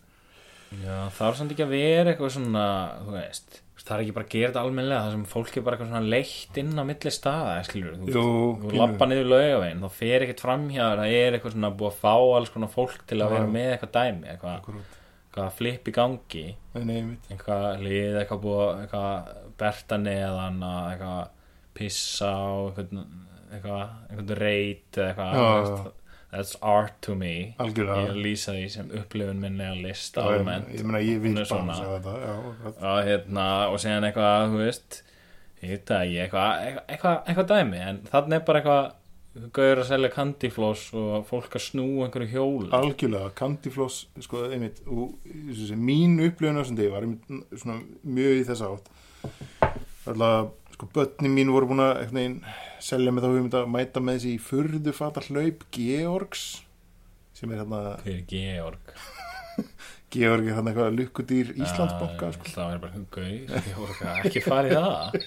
Speaker 5: Já, það er samt ekki að vera eitthvað svona, þú veist, það er ekki bara að gera þetta almennilega, það sem fólk er bara eitthvað svona leitt inn á milli staða, skilur, þú,
Speaker 4: Jú,
Speaker 5: þú
Speaker 4: pínu.
Speaker 5: lappa niður laugaveginn, þá fer ekkert framhjá, þér, það er eitthvað svona búið að fá alls konar fólk til að vera með eitthvað dæmi, eitthvað,
Speaker 4: Akkúrat.
Speaker 5: eitthvað flip í gangi,
Speaker 4: en einmitt,
Speaker 5: eitthvað lið, eitthvað búið, að- eitthvað berta neðan, að eitthvað pissa á, eitthvað, eitthvað, eitthvað reit, eða eitthvað,
Speaker 4: Já,
Speaker 5: þú
Speaker 4: já.
Speaker 5: veist, That's art to me
Speaker 4: Algjörlega.
Speaker 5: Ég er að lýsa því sem upplifun minni að list
Speaker 4: það er,
Speaker 5: almennt
Speaker 4: ég meina, ég
Speaker 5: Hún
Speaker 4: veit
Speaker 5: er
Speaker 4: bara
Speaker 5: svona.
Speaker 4: að segja þetta, já, það,
Speaker 5: Já, hérna, og síðan eitthvað, þú veist, hitta ég eitthvað, eitthvað, eitthvað, eitthvað dæmi, en þannig er bara eitthvað gauður að selja candyfloss og fólk að snú einhverju hjóla.
Speaker 4: algjörlega, kandifloss, sko, einmitt, og ég sé, mín upplifun á þessum degi var einmitt svona mjög í þess átt. Alltaf, sko, börnin mín voru búin að einhvern veginn selja með þá hugmynd að mæta með þessi í furðufata hlaup Georgs, sem er hérna,
Speaker 5: Hver er Georg?
Speaker 4: Georg er hérna eitthvað lukkudýr Íslandsbanka, sko.
Speaker 5: Það er bara einhverjum gauður, Georg, ekki farið það.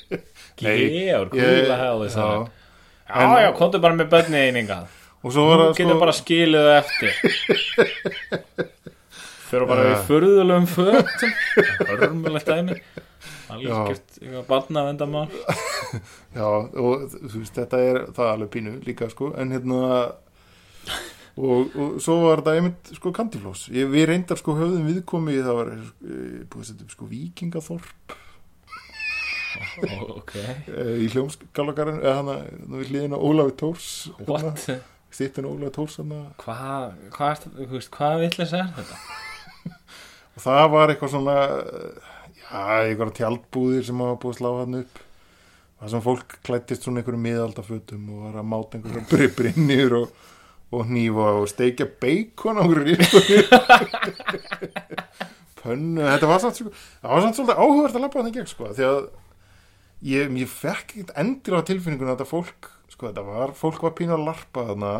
Speaker 5: Georg,
Speaker 4: ég-
Speaker 5: hú, það hefði það.
Speaker 4: já.
Speaker 5: Já, já, komdu bara með börnið einingað.
Speaker 4: Og svo var
Speaker 5: Þú
Speaker 4: það, sko,
Speaker 5: getur bara skilið það eftir. Fyrir bara við furðulegum fötum. Hörmulegt dæmi. Algjört, eitthvað barnavendamál.
Speaker 4: já, og þú veist, þetta er, það er alveg pínu líka, sko, en hérna, og, og svo var þetta einmitt sko kandifloss ég, við reyndar sko höfðum viðkomi það var eh, búið að setja upp sko vikingaþorp
Speaker 5: ok
Speaker 4: eh, í hljómskálagarinn eða hana, nú við hliðina Ólafi Tórs
Speaker 5: What?
Speaker 4: stýttin Ólafi hérna, Tórs hana.
Speaker 5: Hvað, hvað er þetta, þú veist, hvað villis er þetta?
Speaker 4: og það var eitthvað svona eh, já, eitthvað tjaldbúðir sem hafa búið að slá hann upp það sem fólk klættist svona einhverjum miðaldafötum og var að máta einhverjum bribrinnir og, og hnífa og steikja beikon á einhverjum pönnu þetta var samt, sko- það var samt svolítið áhugvert að labba þannig gegn sko, því að ég, ég fekk ekkert endilega tilfinninguna að þetta fólk, sko þetta var fólk var pínu að larpa þarna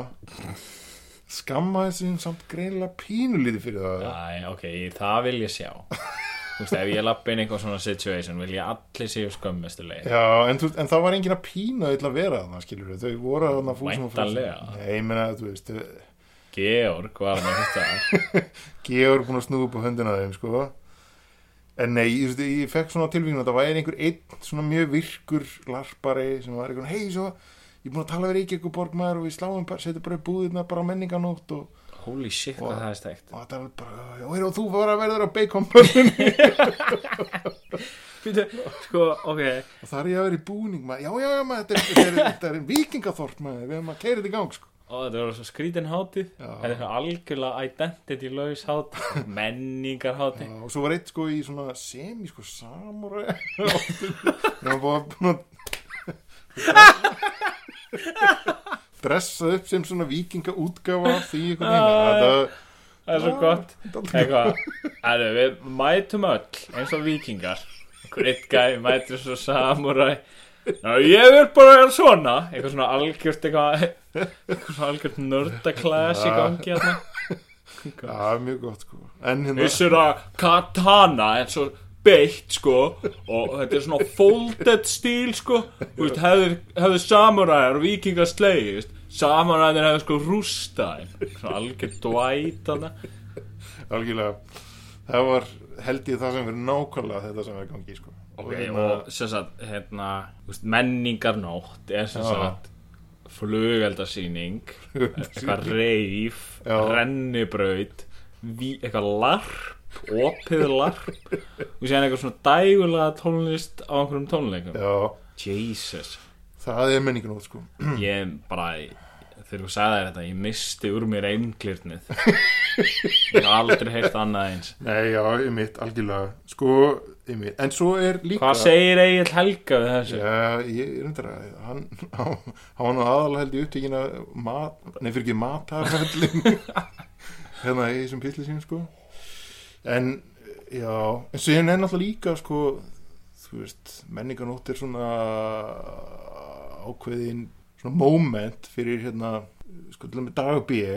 Speaker 4: skammaði sín samt greinlega pínulítið fyrir það
Speaker 5: Æ, ok, það vil ég sjá Þú veist, ef ég lappi inn í eitthvað svona situation vil ég allir séu skömmustulegi
Speaker 4: Já, en, þú, en það var engin að pína þau til að vera þannig, skilur við, þau voru þannig að fúsum og
Speaker 5: Væntanlega.
Speaker 4: Nei, ég meina, þú veist, þau-
Speaker 5: Georg var með þetta
Speaker 4: Georg búin að snúa upp á höndina á þeim, sko. En nei, ég, veist, ég fekk svona tilvíkun að það væri einhver einn svona mjög virkur larpari sem var einhvern, hei, svo, ég er búin að tala við Reykjavík borg maður og við sláum, bara, setjum bara upp búðirna bara á menninganótt og,
Speaker 5: Holy shit, hvað það er steikt
Speaker 4: og það er bara, já, heyrðu, og þú var að verður á beikonbörnunni
Speaker 8: Býtu, sko, ok
Speaker 4: og það er ég að vera í búning, maður, já, já, já, maður, þetta er, þetta er, þetta er vikingaþorp, maður, við erum að keira þetta í gang, sko.
Speaker 5: Ó, þetta var svo skrítin hátíð Þetta er svona algjörlega identity laus hátíð Menningar hátíð
Speaker 4: Já, og svo var eitt sko í svona semi sko samurai þegar hann var búin að dressa upp sem svona vikinga útgafa því einhvern veginn þetta-
Speaker 5: Það er svo gott Eitthvað, Æru, við mætum öll eins og vikingar Gritt gæði mætur svo samuræ Ná, ég er bara að gera svona Eitthvað svona algjört eitthvað Eitthvað svona algjört nördaklæs í gangi hérna
Speaker 4: Já, það er mjög gott sko en hérna
Speaker 5: Vissur að katana er svo beitt sko Og þetta er svona folded stíl sko Þú veist, hefðu, hefðu samuræjar og vikingar slegist Samuræðir hefðu sko rústa þeim. Svona algjört dvæt hana
Speaker 4: algjörlega það var held ég það sem verið nákvæmlega þetta sem er í gangi sko
Speaker 5: Ok,
Speaker 4: hérna,
Speaker 5: og sem sagt, hérna, þú veist, menningarnótt er sem
Speaker 4: Já.
Speaker 5: sagt flugeldasýning, eitthvað reif,
Speaker 4: Já.
Speaker 5: rennibraut, ví, eitthvað larp, opið larp og séðan eitthvað svona dægulega tónlist á einhverjum tónleikum.
Speaker 4: já,
Speaker 5: Jesus,
Speaker 4: það er menningun út sko
Speaker 5: ég bara, þegar þú sagði þér þetta, ég misti úr mér einglirnið. ég hef aldrei heyrt annað eins.
Speaker 4: nei, já, ymmit, algjörlega sko, ymmit, en svo er líka
Speaker 5: Hvað segir Egil Helga við þessu?
Speaker 4: Já, ég reyndar að hann hann var nú aðalega held í upptíkina mat, nei fyrir ekki matarhællin hérna í þessum pilli sín sko en já, en svo hérna er náttúrulega líka sko, þú veist menninganótt er svona ákveðin svona moment fyrir hérna sko til að með dagbíi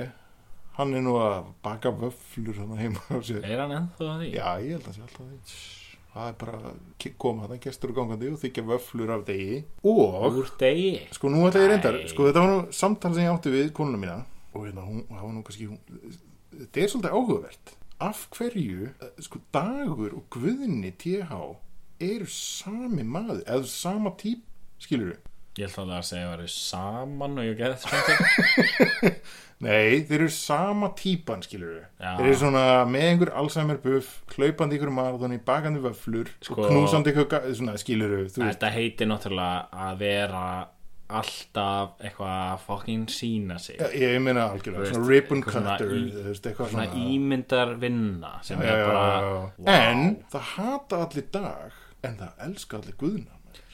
Speaker 4: hann er nú að baka vöflur hann heima á sér
Speaker 5: Er hann ennþá að því?
Speaker 4: Já, ég held að sé alltaf því Það er bara að koma þannig gestur og gangandi og þykja vöflur af degi og,
Speaker 5: Úr degi?
Speaker 4: sko nú ætla ég reyndar
Speaker 5: Nei.
Speaker 4: sko þetta var nú samtal sem ég átti við konuna mína og hérna hún, það var nú kannski hún, þetta er svolítið áhugavert af hverju, eh, sko dagur og guðinni TH eru sami maður, eða sama típ skilur við?
Speaker 5: Ég ætla alveg að segja að það eru saman og ég gerði þetta
Speaker 4: Nei, þeir eru sama típan skilur við
Speaker 5: Já.
Speaker 4: Þeir eru svona með einhver Alzheimer buff, hlaupandi ykkur marathoni, bakandi vöflur
Speaker 5: Sko-
Speaker 4: og knúsandi ykkur ga- svona skilur við, þú veist
Speaker 5: Þetta heitir náttúrulega að vera alltaf eitthvað að fucking sína sig
Speaker 4: Já, ég meina algjörlega,
Speaker 5: Þú
Speaker 4: svona
Speaker 5: veist,
Speaker 4: ribbon
Speaker 5: eitthvað svona
Speaker 4: cutter,
Speaker 5: í-
Speaker 4: þú veist, eitthvað
Speaker 5: Svona
Speaker 4: svona
Speaker 5: ímyndar vinna sem
Speaker 4: Já, já,
Speaker 5: er
Speaker 4: já,
Speaker 5: bara
Speaker 4: já.
Speaker 5: Vá.
Speaker 4: En það hata allir dag, en það elska allir guðna maður.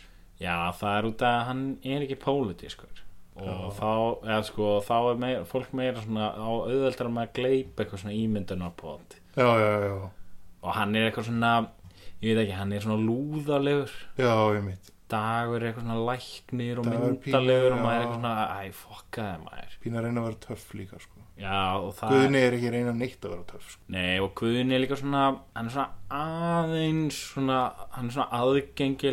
Speaker 5: Já, það er út að hann er ekki pólitískur og þá, eða sko, þá er meira, fólk meira svona á auðveldar með að gleypa eitthvað svona ímyndunarpót
Speaker 4: Já, já, já,
Speaker 5: og hann er eitthvað svona, ég veit ekki, hann er svona lúðalegur
Speaker 4: já, ég mitt,
Speaker 5: dagur er eitthvað svona læknir og
Speaker 4: Dagur pínu,
Speaker 5: myndalegur og
Speaker 4: já.
Speaker 5: maður er eitthvað svona æ, fokkaði maður
Speaker 4: pína að reyna að vera töff líka, sko
Speaker 5: já, og það
Speaker 4: Guðni er ekki að reyna neitt að vera töff, sko
Speaker 5: nei, og Guðni er líka svona hann er svona aðeins svona, hann er svona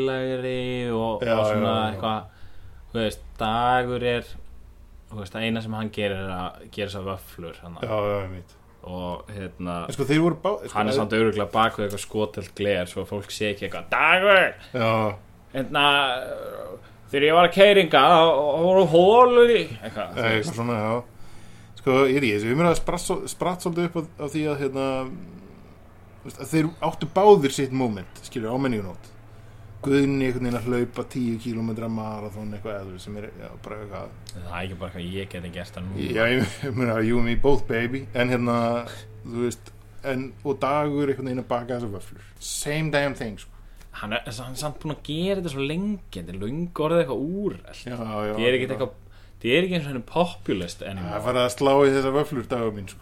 Speaker 5: aðgengilegri og,
Speaker 4: Já,
Speaker 5: og
Speaker 4: já,
Speaker 5: svona
Speaker 4: já.
Speaker 5: eitthvað þú veist, dagur er þú veist, það eina sem hann gerir er að gera svo vöflur hann,
Speaker 4: Já, já, ég mitt
Speaker 5: og hérna
Speaker 4: En sko, þeir voru bá sko,
Speaker 5: hann er
Speaker 4: ef-
Speaker 5: samt öruglega bak við eitthvað skotelt gler svo að fólk sé ekki eitthvað dagur
Speaker 4: Já,
Speaker 5: hérna þegar ég var að keiringa þá voru hólur í eitthvað
Speaker 4: eða eitthvað svona, já Sko, ég er ekki, þessi, við mér að spratt svo- spratt svolítið upp af- af því að, hérna þú veist, að þeir áttu báðir sitt moment, skilur, ámenningunót guðni einhvern veginn að hlaupa 10 km marathon eitthvað eða þú veist, sem er já, bara eitthvað
Speaker 5: það er ekki bara hvað ég geti gert það nú
Speaker 4: já, ég mun að you and me both baby en hérna, þú veist en, og dagur einhvern veginn að baka þessar vöflur same damn thing sko.
Speaker 5: hann er, hann er samt búin að gera þetta svo lengi þetta er löngu orðið eitthvað úrælt
Speaker 4: já, já,
Speaker 5: það er ekki
Speaker 4: já.
Speaker 5: eitthvað það er ekki eins og henni populist
Speaker 4: það er
Speaker 5: anymore
Speaker 4: farið að slá í þessar vöflur dagum mín sko.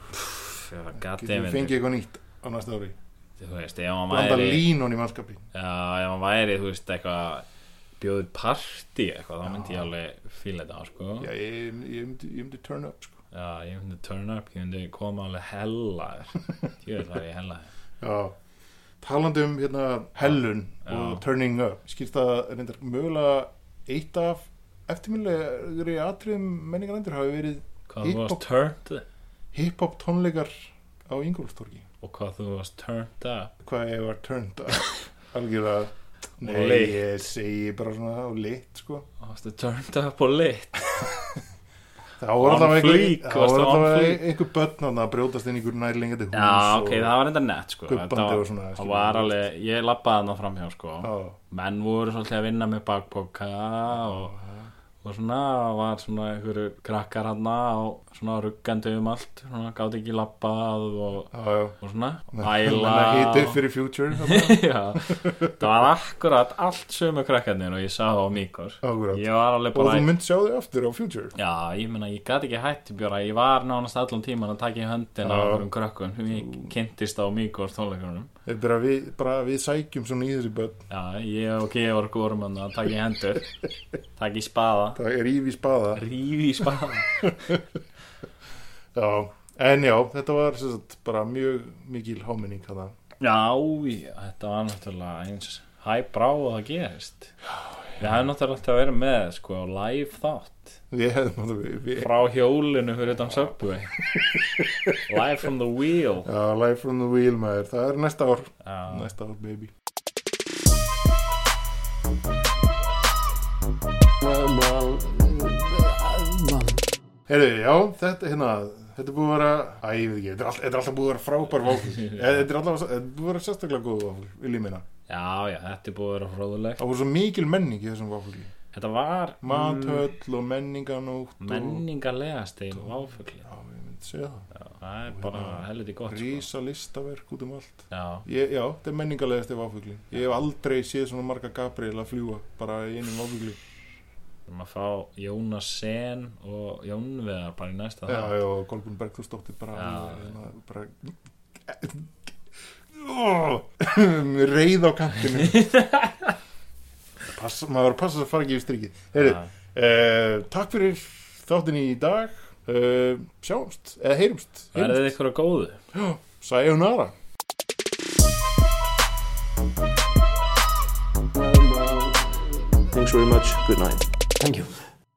Speaker 4: getum við fengið
Speaker 5: goddammit
Speaker 4: eitthvað nýtt á næsta ári
Speaker 5: þú veist ef hann
Speaker 4: blanda
Speaker 5: væri
Speaker 4: línun í mannskapin
Speaker 5: Já, ef hann væri, þú veist, eitthvað bjóðið partí eitthvað, þá myndi ég alveg fíla þetta, sko.
Speaker 4: já, ég, ég, myndi, ég myndi turn up sko.
Speaker 5: Já, ég myndi turn up, ég myndi koma alveg hella þér. Ég veit það ég hella þér.
Speaker 4: já talandi um hérna hellun
Speaker 5: Já.
Speaker 4: og turning up skýrst það reyndar mögulega eitt af eftirminnilegri atriðum menningarandir hafi verið
Speaker 5: Hvað þú
Speaker 4: Hip-hop.
Speaker 5: varst turned
Speaker 4: hip-hop tónleikar á Ingolstorgi
Speaker 5: og hvað þú varst turned up.
Speaker 4: hvað ég var turned up algjörlega
Speaker 5: Og
Speaker 4: nei,
Speaker 5: lit.
Speaker 4: ég segi bara svona á lit sko.
Speaker 5: Og varstu turned up og lit.
Speaker 4: það voru
Speaker 5: On
Speaker 4: alltaf
Speaker 5: fleek,
Speaker 4: einhver,
Speaker 5: varstu on fleek?
Speaker 4: einhver börn þarna að brjótast inn í einhver nærlingandi hús
Speaker 5: Já, ok,
Speaker 4: og-
Speaker 5: það var reyndar nett, sko.
Speaker 4: Gubbandi
Speaker 5: Þetta var-
Speaker 4: og svona,
Speaker 5: Það
Speaker 4: skilur
Speaker 5: var
Speaker 4: við.
Speaker 5: alveg, ég labbaði þarna framhjá, sko.
Speaker 4: Já.
Speaker 5: Menn voru svolítið að vinna með bakpoka og... Og svona var svona einhverju krakkar hann og svona ruggandi um allt, svona gátt ekki labbað og
Speaker 4: Já, já.
Speaker 5: og svona
Speaker 4: Æla
Speaker 5: æla
Speaker 4: Hítið fyrir future
Speaker 5: Já, það var akkurat allt sömu krakkarnir og ég sá það á Mikos
Speaker 4: Akkurat.
Speaker 5: ég var alveg
Speaker 4: Og
Speaker 5: bara
Speaker 4: þú mynd sjá þau aftur á future
Speaker 5: já, ég meina, ég gat ekki hætti bjóra ég var nánast allan tíman að taka í höndin á
Speaker 4: Já.
Speaker 5: einhverjum krökkum sem ég kynntist á Mikos tónleikunum
Speaker 4: Þetta er bara við, bara við sækjum svona í þessi börn
Speaker 5: já, ég og Georg vorum hann að taka í hendur taka í spaða
Speaker 4: Það er íf í spaða
Speaker 5: rífi í spaða
Speaker 4: já. En já, þetta var sem sagt, bara mjög mikil háminning hana.
Speaker 5: já, já, þetta var náttúrulega eins hæbrá og það gerist við hefum náttúrulega alltaf verið með sko live þátt
Speaker 4: Við hefðum að við, við
Speaker 5: frá hjólinu fyrir utan Subway Live from the wheel
Speaker 4: Já, Life from the Wheel maður, það er næsta ár
Speaker 5: Já,
Speaker 4: Næsta ár, baby Heyrðu, já, þetta, hérna Þetta er búið að vera, æ, ég veit ekki Þetta er, all, þetta er alltaf búið að vera frábær váfl Þetta er alltaf, þetta er búið að vera sérstaklega góð váfl Vil ég minna,
Speaker 5: já, já, þetta er búið að vera fróðulegt
Speaker 4: það voru svo mikil menning í þessum váfli
Speaker 5: Þetta var Mm.
Speaker 4: Mathöll og menninganótt
Speaker 5: menningarlegast einn váfugli
Speaker 4: og, Já, ég myndi segja það
Speaker 5: Það er bara helviti gott sko.
Speaker 4: Rísa listaverk út um allt
Speaker 5: Já,
Speaker 4: ég, Já, þetta er menningarlegast ef áfugli Ég hef aldrei séð svona marga Gabriel að fljúa bara í einum áfugli
Speaker 5: við erum að fá Jónas Sen og Jónveðar bara í næsta
Speaker 4: Já,
Speaker 5: þátt.
Speaker 4: já, og Kolbun Bergþórsdóttir bara,
Speaker 5: Já, já.
Speaker 4: hérna, bara Ó, reið á kantinu Pass, maður verður að passa að fara ekki yfir strikið Heyri,
Speaker 5: Já.
Speaker 4: uh, takk fyrir þáttin í dag uh, sjáumst, eða heyrumst,
Speaker 5: Verðið
Speaker 4: heyrumst.
Speaker 5: ykkur að góðu
Speaker 4: Sayonara
Speaker 3: Thanks very much. Good night.
Speaker 2: Thank you.